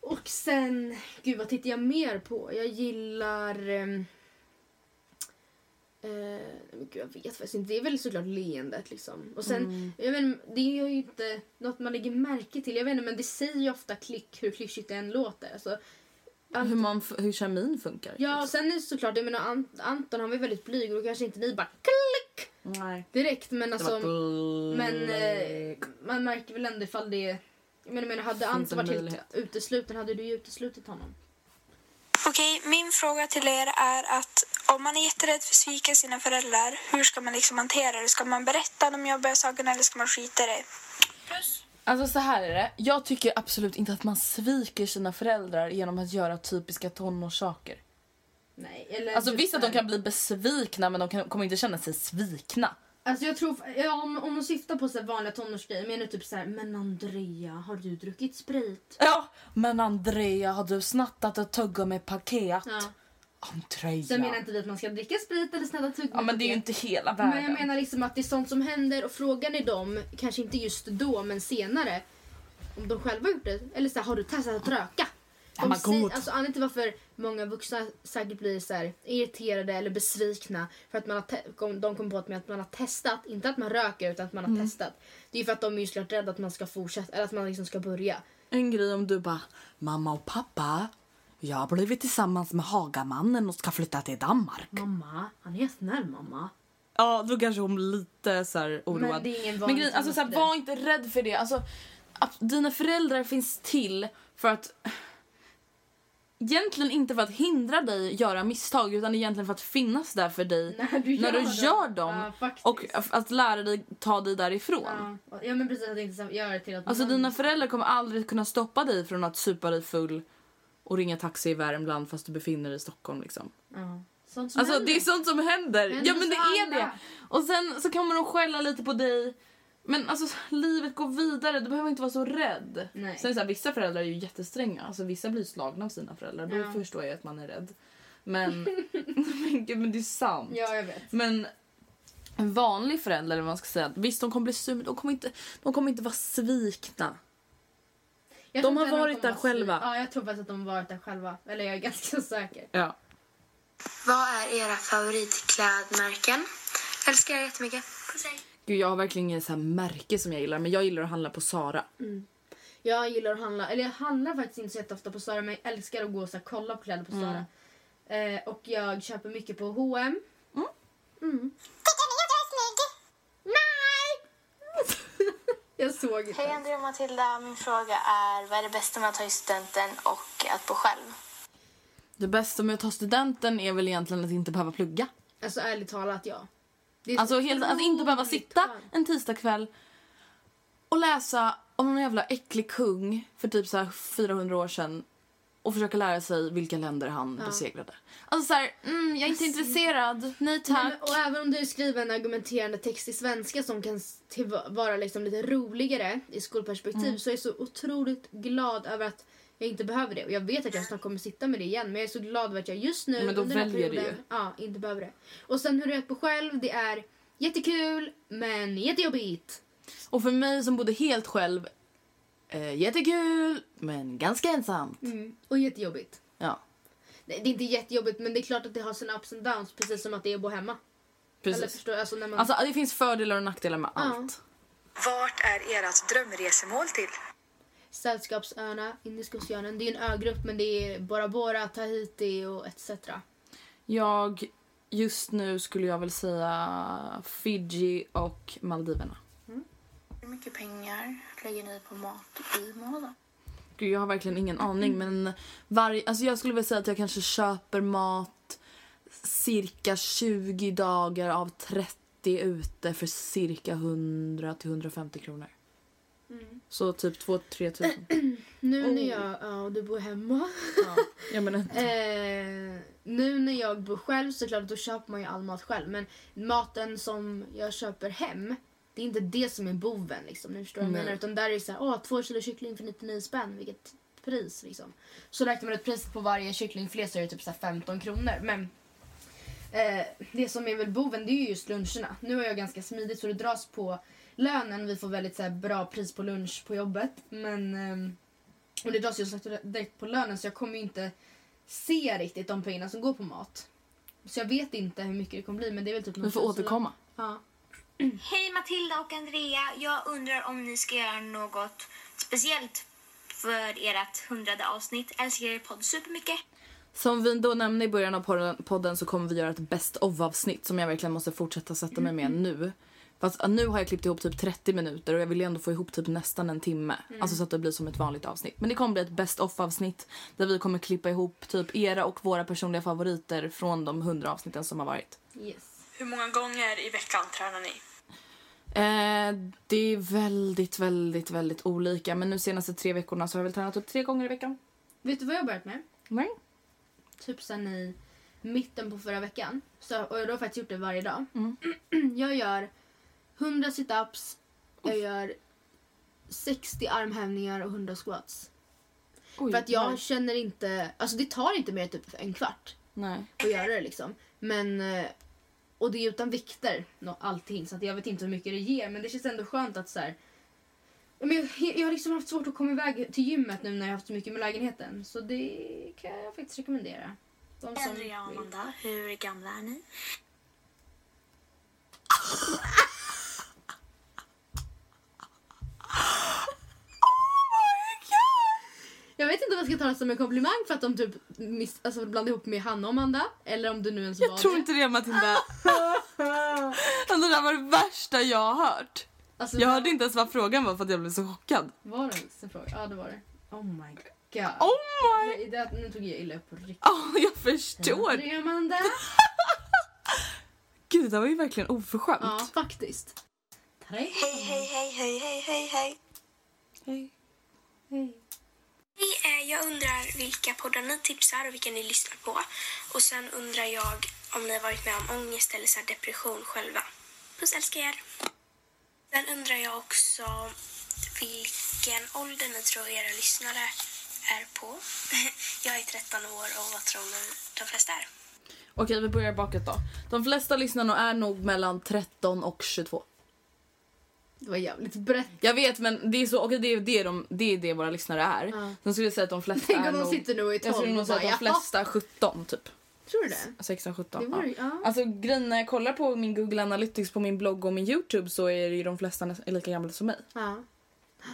S2: Och sen, gud vad tittar jag mer på? Jag gillar... ehm, Eh, men gud, jag vet faktiskt inte. Det är väl såklart leendet liksom. Och sen, jag vet, inte, det är ju inte något man lägger märke till. Jag vet inte, men det säger ju ofta klick hur klyschigt det än låter. Alltså,
S1: hur, man, f- hur kemin funkar.
S2: ja, och sen är det såklart, jag menar An- Anton han var ju väldigt blyg och då kanske inte ni bara klick
S1: Nej.
S2: direkt. Men
S1: Det var
S2: alltså, men eh, man märker väl ändå ifall det... Jag menar, jag menar hade Anton
S1: en
S2: varit helt
S1: möjlighet.
S2: utesluten hade du ju uteslutit honom.
S3: Okej, min fråga till er är att om man är jätterädd för att svika sina föräldrar, hur ska man liksom hantera det? Ska man berätta de jobbiga sakerna eller ska man skita i det?
S1: Alltså så här är det. Jag tycker absolut inte att man sviker sina föräldrar genom att göra typiska tonårssaker.
S2: Nej, eller
S1: Alltså
S2: typ
S1: visst att de
S2: så här-
S1: kan bli besvikna men de kan, kommer inte känna sig svikna.
S2: Alltså jag tror, ja, om, om hon syftar på så här vanliga tonårsgrejer menar du typ så här, men Andrea har du druckit sprit?
S1: Ja, men Andrea har du snattat och tuggat med paket?
S2: Ja.
S1: Andrea.
S2: Sen menar inte vi att man ska dricka sprit eller snälla tugga
S1: ja men det är ju inte hela världen.
S2: Men jag menar liksom att det är sånt som händer och frågan är dem, kanske inte just då men senare, om de själva har gjort det. Eller så här, har du testat att röka?
S1: Ja, men
S2: De säger-
S1: god.
S2: alltså, anledningen till varför många vuxna säkert blir så här irriterade eller besvikna för att man har te- kom, de kom på att, med att man har testat, inte att man röker utan att man har
S1: Mm.
S2: testat. Det är ju för att de är ju såklart rädda att man ska fortsätta, eller att man liksom ska börja.
S1: En grej om du bara, mamma och pappa, jag har blivit tillsammans med Hagamannen och ska flytta till Danmark.
S2: Mamma, han är snäll mamma.
S1: Ja, då kanske hon blir lite så här oroad.
S2: Men det är ingen vanlig
S1: grejen- alltså, så här,
S2: tanke.
S1: Var inte rädd för det. Alltså, att dina föräldrar finns till för att... Egentligen inte för att hindra dig göra misstag utan egentligen för att finnas där för dig
S2: När du gör dem.
S1: gör dem.
S2: Ja, faktiskt.
S1: och f- att lära dig ta dig därifrån.
S2: Ja, ja men precis, att inte så- göra det till att
S1: Alltså
S2: man-
S1: dina föräldrar kommer aldrig kunna stoppa dig från att supa dig full och ringa taxi i Värmland fast du befinner dig i Stockholm liksom.
S2: Ja. Sånt som
S1: Alltså
S2: händer.
S1: det är sånt som händer.
S2: Händer
S1: ja men det
S2: för
S1: är
S2: alla.
S1: det. Och sen så kommer de skälla lite på dig. Men alltså livet går vidare, du behöver inte vara så rädd.
S2: Nej.
S1: Sen är det så här, vissa föräldrar är ju jättestränga, alltså vissa blir slagna av sina föräldrar. Då
S2: Ja.
S1: förstår jag att man är rädd. Men, men, gud, men det är sant.
S2: Ja, jag vet.
S1: Men en vanlig förälder, eller vad man ska säga, visst de kommer bli sur, men de kommer inte, de kommer inte vara svikna.
S2: Jag
S1: De
S2: tror
S1: har
S2: inte att
S1: varit
S2: kommer
S1: där själva.
S2: att sy- Ja, jag tror faktiskt att de har varit där själva. Eller jag är ganska säker.
S1: Ja.
S4: Vad är era favoritklädmärken? Älskar er jättemycket.
S1: Gud, jag har verkligen inget så här märke som jag gillar, men jag gillar att handla på Sara.
S2: Jag gillar att handla, eller jag handlar faktiskt inte så jätteofta på Sara men jag älskar att gå och så här, kolla på kläder på
S1: Mm.
S2: Sara. Eh, och jag köper mycket på H&M.
S1: Mm.
S2: Mm.
S3: Tycker ni att jag är snygg?
S2: Nej! jag såg
S4: Hej
S2: inte.
S4: Andrea och Matilda, min fråga är vad är det bästa med att ta just studenten och att bo själv?
S1: Det bästa med att ta studenten är väl egentligen att inte behöva plugga.
S2: Alltså ärligt talat, ja. Det är
S1: Alltså
S2: så
S1: helt, att inte behöva
S2: otroligt
S1: sitta
S2: skönt.
S1: en tisdagkväll och läsa om någon jävla äcklig kung för typ så här 400 år sedan och försöka lära sig vilka länder han besegrade. Alltså så här, mm, jag är inte intresserad. Nej tack.
S2: Nej, men, och även om du skriver en argumenterande text i svenska som kan s- till- vara liksom lite roligare i skolperspektiv
S1: Mm.
S2: så är jag så otroligt glad över att jag inte behöver det. Och jag vet att jag snart kommer sitta med det igen men jag är så glad över att jag just nu
S1: Men då
S2: under den här
S1: väljer du ju.
S2: perioden, ja, inte behöver det. Och sen hur det är på själv, det är jättekul men jättejobbigt.
S1: Och för mig som bodde helt själv, eh, jättekul men ganska ensamt.
S2: Och jättejobbigt.
S1: Ja,
S2: Nej, Det är inte jättejobbigt men det är klart att det har sina ups and downs precis som att det är att bo hemma. Eller
S1: precis.
S2: förstår, alltså när man...
S1: Alltså det finns fördelar och nackdelar med allt.
S8: Vart är ert drömresemål till?
S2: Sällskapsöarna, Indiska oceanen. Det är en ögrupp men det är Bora Bora, Tahiti och etc.
S1: Jag, just nu skulle jag väl säga Fiji och Maldiverna.
S3: Hur mycket pengar lägger ni på mat i månaden?
S1: Gud, jag har verkligen ingen aning. Men varje, alltså jag skulle väl säga att jag kanske köper mat cirka 20 dagar av 30 90 ute för cirka 100 till 150 kronor.
S2: Mm.
S1: Så typ 2-3 tusen.
S2: Nu när
S1: Oh.
S2: jag, ja och du bor hemma.
S1: Jag menar,
S2: Eh, nu när jag bor själv såklart då köper man ju all mat själv. Men maten som jag köper hem, det är inte det som är boven liksom. Ni förstår vad jag
S1: Nej.
S2: menar. Utan där är det såhär, åh två kilo kyckling för 99 spänn, vilket pris liksom. Så räknar man ut priset på varje kycklingfilé så är det typ så här 15 kronor. Men eh, det som är väl boven det är ju just luncherna. Nu har jag ganska smidigt så det dras på lönen. Vi får väldigt så här, bra pris på lunch på jobbet. Men ehm, och det dras ju som sagt direkt på lönen så jag kommer ju inte se riktigt de pengarna som går på mat. Så jag vet inte hur mycket det kommer bli men det är väl typ
S1: vi får
S2: någon tusenlapp.
S1: återkomma.
S2: Ja.
S4: Hej Matilda och Andrea. Jag undrar om ni ska göra något speciellt för ert hundrade avsnitt. Älskar er podd supermycket.
S1: Som vi då nämnde i början av porren- podden så kommer vi göra ett best of-avsnitt som jag verkligen måste fortsätta sätta mig med nu. Fast ah, nu har jag klippt ihop typ 30 minuter och jag vill ju ändå få ihop typ nästan en timme. Alltså så att det blir som ett vanligt avsnitt. Men det kommer bli ett best of-avsnitt där vi kommer klippa ihop typ era och våra personliga favoriter från de 100 avsnitten som har varit.
S2: Yes.
S3: Hur många gånger i veckan tränar ni?
S1: Eh, det är väldigt, väldigt, väldigt olika. Men nu senaste tre veckorna så har jag väl tränat upp tre gånger i veckan.
S2: Vet du vad jag har börjat med?
S1: Nej.
S2: Typ sen i mitten på förra veckan. Så, och jag har faktiskt gjort det varje dag.
S1: Mm.
S2: Jag gör 100 situps, jag gör 60 armhävningar och 100 squats.
S1: Oj,
S2: För att jag
S1: nej.
S2: känner inte, alltså det tar inte mer än typ en kvart
S1: Nej.
S2: att göra det liksom. Men, eh, och det är utan vikter nå- allting så att jag vet inte hur mycket det ger men det känns ändå skönt att så här. Ja, Men jag, jag har liksom haft svårt att komma iväg till gymmet nu när jag har haft så mycket med lägenheten. Så det kan jag faktiskt rekommendera. De som
S3: Alltså, Andrea och
S2: vill.
S3: Amanda, hur gamla är ni?
S2: Jag vet inte om jag ska ta det som en komplimang för att de typ miss, alltså blandade ihop med Hanna och Amanda. Eller om det nu ens var
S1: Jag tror
S2: det.
S1: inte det Matilda. Alltså, Det där var det värsta jag har hört.
S2: Alltså,
S1: Jag hörde inte ens vad frågan var för att jag blev så chockad.
S2: Var det ens en fråga? Ja det var det. Oh my god.
S1: Oh my!
S2: Nej, det, nu tog jag illa upp på riktigt.
S1: Oh, jag förstår.
S2: Andrea och Amanda.
S1: Gud, det där var ju verkligen oförskämt.
S2: Ja faktiskt. Tre.
S3: Hej, hej, hej, hej, hej, hej, hej.
S1: Hej.
S3: Hej, eh, jag undrar vilka poddar ni tipsar och vilka ni lyssnar på. Och sen undrar jag om ni har varit med om ångest eller så här depression själva. Puss älskar er. Sen undrar jag också vilken ålder ni tror era lyssnare är på. Jag är 13 år och vad tror ni de flesta är?
S1: Okej, vi börjar bakåt då. De flesta lyssnarna är nog mellan 13 och 22.
S2: Det var jävligt brett.
S1: Jag vet, men det är så, okej, det, är det, de, det är det våra lyssnare är.
S2: Ja.
S1: Sen skulle jag säga att de flesta
S2: Tänk
S1: är
S2: om de
S1: nog...
S2: sitter nu och är
S1: jag skulle
S2: 12
S1: nog
S2: och
S1: säga
S2: bara,
S1: att de
S2: "Jaha."
S1: flesta är 17, typ.
S2: Tror du det?
S1: 16, 17.
S2: Det var-
S1: ja.
S2: ja.
S1: Alltså grejen när jag kollar på min Google Analytics på min blogg och min Youtube så är det ju de flesta nästan lika gamla som mig.
S2: Ja.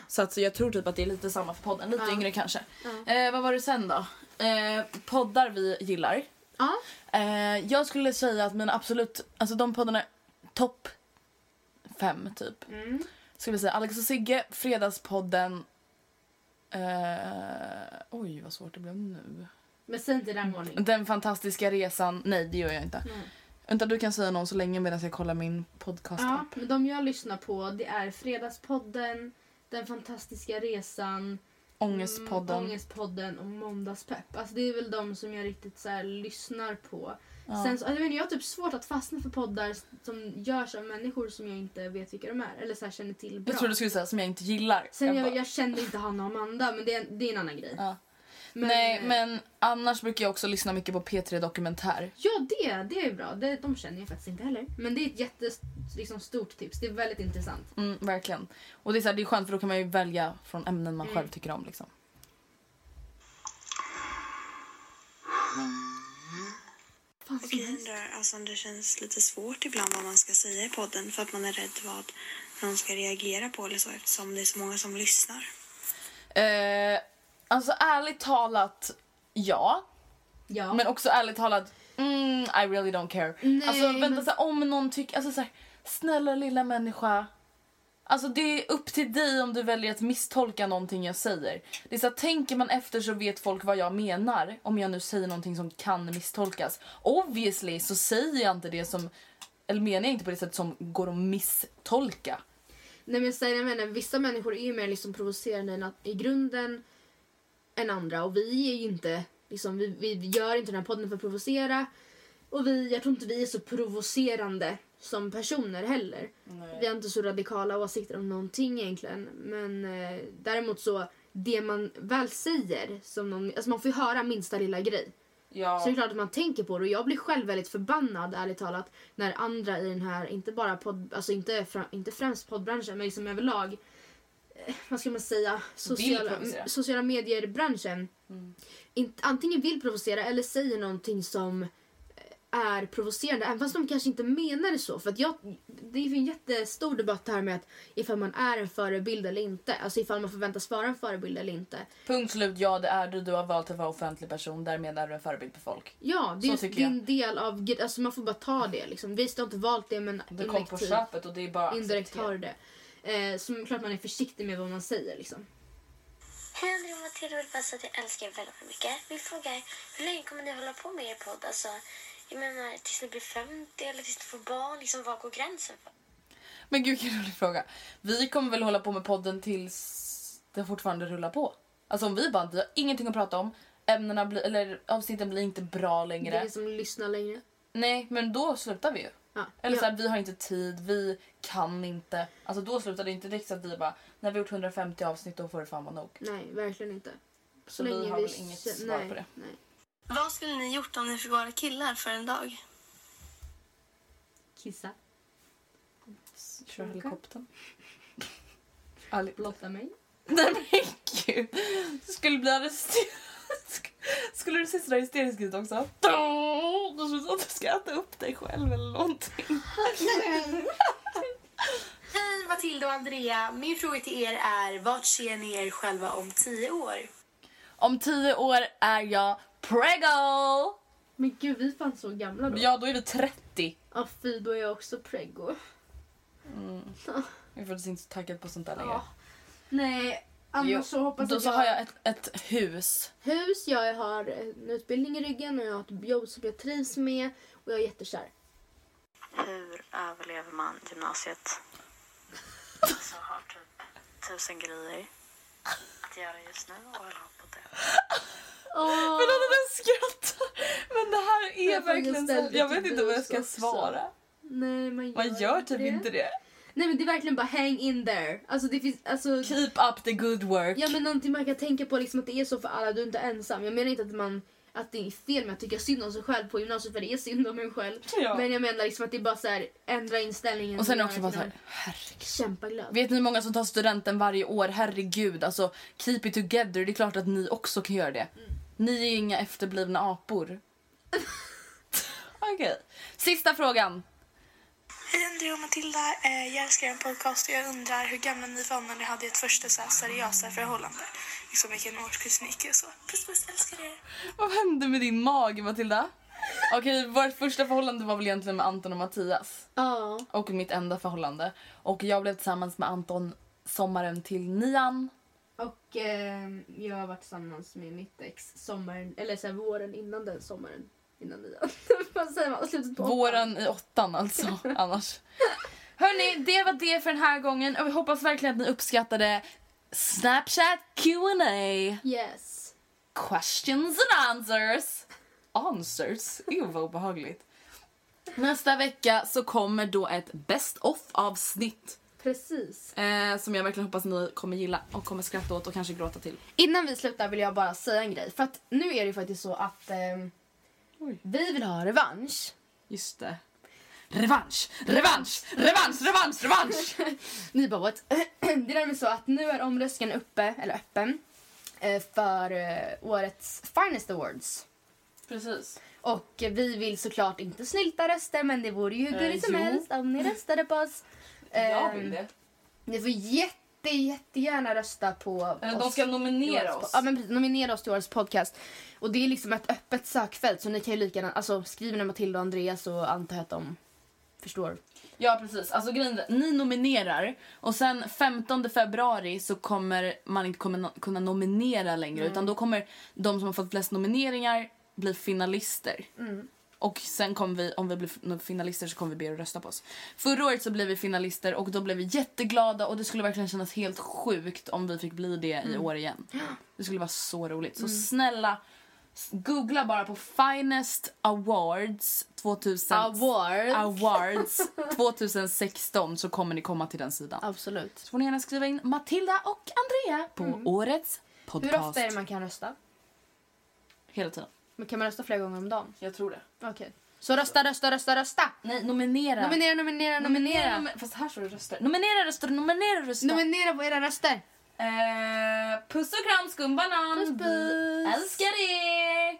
S1: Så att, så jag tror typ att det är lite samma för podden, lite
S2: Ja.
S1: yngre kanske. Eh, vad var det sen då? Eh, poddar vi gillar.
S2: Ja.
S1: Eh, jag skulle säga att mina absolut, alltså de poddarna, topp fem typ.
S2: Mm.
S1: Skulle jag säga Alex och Sigge, Fredagspodden. Eh, oj vad svårt det blev nu.
S2: Men säg inte i den ordningen.
S1: Den fantastiska resan. Nej, det gör jag inte.
S2: Nej.
S1: Vänta, du kan säga någon så länge medan jag kollar min podcast.
S2: Ja, men de jag lyssnar på det är Fredagspodden, Den fantastiska resan,
S1: Ångestpodden.
S2: mm, Ångestpodden och Måndagspepp. Alltså det är väl de som jag riktigt så här, lyssnar på. Sen så, jag, vet inte, jag har typ svårt att fastna för poddar som görs av människor som jag inte vet vilka de är. Eller så här, känner till bra.
S1: jag tror du skulle säga som jag inte gillar.
S2: Sen jag,
S1: bara-
S2: jag kände inte Hanna och Amanda men det är, det är en annan grej.
S1: Ja.
S2: Men-
S1: Nej, men annars brukar jag också lyssna mycket på P3 Dokumentär.
S2: Ja, det, det är bra. Det, de känner jag faktiskt inte heller. Men det är ett jättestort liksom, stort tips. Det är väldigt intressant.
S1: Mm, verkligen. Och det är, så här, det är skönt för då kan man ju välja från ämnen man
S2: Mm.
S1: själv tycker om. Liksom.
S3: Okej, jag undrar, alltså om det känns lite svårt ibland vad man ska säga i podden för att man är rädd vad någon ska reagera på eller så eftersom det är så många som lyssnar.
S1: Eh, alltså ärligt talat, ja.
S2: Ja.
S1: Men också ärligt talat, mm, I really don't care.
S2: Nej,
S1: alltså vänta
S2: men-
S1: så här, om någon tycker, alltså så här, snälla lilla människa. Alltså det är upp till dig om du väljer att misstolka någonting jag säger. Det är så här, tänker man efter så vet folk vad jag menar om jag nu säger någonting som kan misstolkas. Obviously så säger jag inte det som Eller menar jag inte på det sättet som går att misstolka.
S2: Nej men så här, jag menar, vissa människor är ju mer liksom provocerande än att, i grunden än andra och vi är ju inte, liksom, vi, vi gör inte den här podden för att provocera och vi, jag tror inte vi är så provocerande som personer heller. Vi har inte så radikala åsikter om någonting egentligen men eh, däremot så det man väl säger, som någon, alltså man får ju höra minsta lilla grej.
S1: Ja.
S2: Så det är klart att man tänker på det. Och jag blir själv väldigt förbannad, ärligt talat, när andra i den här, inte bara podd, alltså inte, fra, inte främst poddbranschen, men liksom överlag, eh, vad ska man säga, sociala,
S1: provocera. Mm.
S2: m- sociala medier-branschen, inte, antingen vill provocera eller säger någonting som eh, är provocerande, även fast de kanske inte menar det så. För att jag, det är ju en jättestor debatt här med att ifall man är en förebild eller inte. Alltså ifall man förväntas vara en förebild eller inte.
S1: Punkt slut, ja det är du. Du har valt att vara offentlig person. Därmed är du en förebild för folk.
S2: Ja, det är,
S1: Så
S2: just-
S1: tycker
S2: det är en del av gre- alltså man får bara ta det liksom. Visst, du har inte valt det men typ.
S1: Det kom på köpet och det är bara att
S2: indirekt
S1: acceptera.
S2: har du det. Eh, så klart man är försiktig med vad man säger liksom.
S9: Hej André och Matilda vill bara säga att jag älskar er väldigt mycket. Vi frågar, hur länge kommer ni hålla på med er podd? Alltså, jag menar tills ni blir 50 eller tills ni får barn, liksom var går gränsen? för?
S1: Men gud vilken rolig fråga. Vi kommer väl hålla på med podden tills den fortfarande rullar på. Alltså om vi bara, vi har ingenting att prata om. Ämnena blir, eller avsnitten blir inte bra
S2: Det
S1: längre.
S2: är som lyssnar längre.
S1: Nej, men då slutar vi ju.
S2: Ja.
S1: Eller
S2: Ja.
S1: så här, vi har inte tid, vi kan inte. Alltså då slutar det inte direkt så att vi bara, när vi har gjort 150 avsnitt då får det fan vara nog.
S2: Nej, verkligen inte.
S1: Så, vi har väl inget
S2: kän-
S1: svar
S2: nej,
S1: på det.
S2: Nej.
S3: Vad skulle ni gjort om ni fick vara killar för en dag?
S2: Kissa.
S1: Kör
S2: Okej.
S1: helikoptern.
S2: Blotta mig.
S1: Nej men gud. Du skulle bli arresterad. Sk- Skulle du se sådär hysteriskt ut också? Då skulle du att du ska äta upp dig själv eller någonting.
S3: Hej Matilda och Andrea. Min fråga till er är vart ser ni er själva om tio år?
S1: Om tio år är jag preggo!
S2: Men gud, vi är fan så gamla då.
S1: Ja, då är vi 30.
S2: Ja, fy, då är jag också preggo.
S1: Jag är faktiskt inte så taggad på sånt där längre.
S2: Ja. Nej, annars
S1: Jo,
S2: så hoppas
S1: Då
S2: att
S1: så
S2: jag...
S1: har jag ett, ett hus.
S2: hus, jag har en utbildning i ryggen och jag har ett jobb som jag trivs med och jag är jättekär.
S8: Hur överlever man gymnasiet? Så har typ tusen grejer att göra just nu och hålla på det.
S2: Åh.
S1: Men alltså den skrattar. Men det här är
S2: Jag får
S1: verkligen så.
S2: ställa
S1: Jag
S2: till
S1: vet inte vad jag ska
S2: bus också.
S1: svara.
S2: Nej, man gör,
S1: Man gör typ inte det.
S2: Nej, men det är verkligen bara hang in there. Alltså, det finns... Alltså,
S1: Keep up the good work.
S2: ja, men någonting man kan tänka på liksom att det är så för alla, du är inte ensam. Jag menar inte att man att det är fel med att tycka synd om sig själv på gymnasiet för det är synd om en själv.
S1: Ja.
S2: Men jag menar liksom att det är bara så här ändra inställningen. liksom
S1: Och sen är det
S2: Göra
S1: också bara
S2: till
S1: så här,
S2: någon
S1: herregud.
S2: Kämpaglöd.
S1: Vet ni hur många som tar studenten varje år? Herregud, alltså keep it together. Det är klart att ni också kan göra det. Ni är ju inga efterblivna apor. Okej, sista frågan.
S3: Hej Andrea och Matilda. Eh, Jag älskar er podcast och jag undrar hur gamla ni var när ni hade ert första så här seriösa förhållande. Liksom vilken årskurs ni gick i och så. Puss puss, älskar er.
S1: Vad hände med din mage, Matilda? Okej, vårt första förhållande var väl egentligen med Anton och Mattias.
S2: Ja.
S1: Och mitt enda förhållande. Och jag blev tillsammans med Anton sommaren till nian.
S2: Och eh, jag har varit tillsammans med mitt ex sommaren, eller så här, våren innan den sommaren. Innan nian. Vad säger man? Slutet på åttan.
S1: Våren i åttan alltså, annars. Hörni, det var det för den här gången och vi hoppas verkligen att ni uppskattade Snapchat Q&A
S2: Yes.
S1: Questions and answers. Answers? Ew, vad obehagligt. Nästa vecka så kommer då ett best of-avsnitt
S2: Precis.
S1: eh, som jag verkligen hoppas ni kommer gilla och kommer skratta åt och kanske gråta till.
S6: Innan vi slutar vill jag bara säga en grej. För att nu är det ju faktiskt så att ehm,
S1: Oj.
S6: vi vill ha revansch.
S1: Just det. Revansch, revansch, revansch, revansch, revansch!
S6: Ni bara what? Det är nämligen så att nu är omröstningen uppe, eller öppen, eh, för eh, årets Finest Awards.
S1: Precis.
S6: Och eh, vi vill såklart inte snylta röster men det vore ju hur
S1: Eh,
S6: gulligt som
S1: jo.
S6: helst om ni röstade på oss.
S1: Jag
S6: Ehm,
S1: vill det.
S6: Ni får jätte, jättegärna rösta på
S1: Eller de ska nominera
S6: till årets po-
S1: oss.
S6: Ja, men precis, nominera oss till årets podcast. Och det är liksom ett öppet sökfält så ni kan ju lika gärna, alltså skriver ni Matilda och Andreas så antar jag att de förstår.
S1: Ja precis, alltså grejen är, ni nominerar och sen 15 februari så kommer man inte kommer no- kunna
S6: Mm. Mm.
S1: nominera längre utan då kommer de som har fått flest nomineringar bli finalister. Och sen kommer vi, om vi blir finalister så kommer vi be er att rösta på oss. Förra året så blev vi finalister och då blev vi jätteglada och det skulle verkligen kännas helt sjukt om vi fick bli det i
S6: Mm.
S1: år igen. Det skulle vara så roligt. Så
S6: Mm.
S1: snälla, s- googla bara på Finest Awards 2000...
S6: Awards.
S1: Awards 2016 så kommer ni komma till den sidan.
S6: Absolut. Så
S1: får ni gärna skriva in Matilda och Andrea på årets podcast.
S6: Mm. Hur ofta är det man kan rösta?
S1: Hela tiden.
S6: Men kan man rösta flera gånger om dagen?
S1: Jag tror det.
S6: Okej. Så rösta, rösta, rösta, rösta!
S1: Nej, nominera.
S6: Nominera, nominera, nominera.
S1: nominera. Fast här står det röster. Nominera röster, nominera röster.
S6: Nominera på era röster.
S1: Eh, puss och kram skumbanan.
S6: Puss, puss.
S1: Vi älskar er.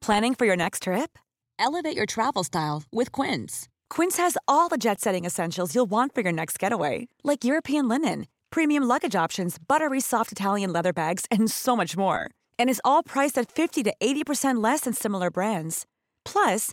S10: Planning for your next trip? Elevate your travel style with Quince. Quince has all the jet setting essentials you'll want for your next getaway, like European linen, premium luggage options, buttery soft Italian leather bags, and so much more. And is all priced at 50 to 80% less than similar brands. Plus,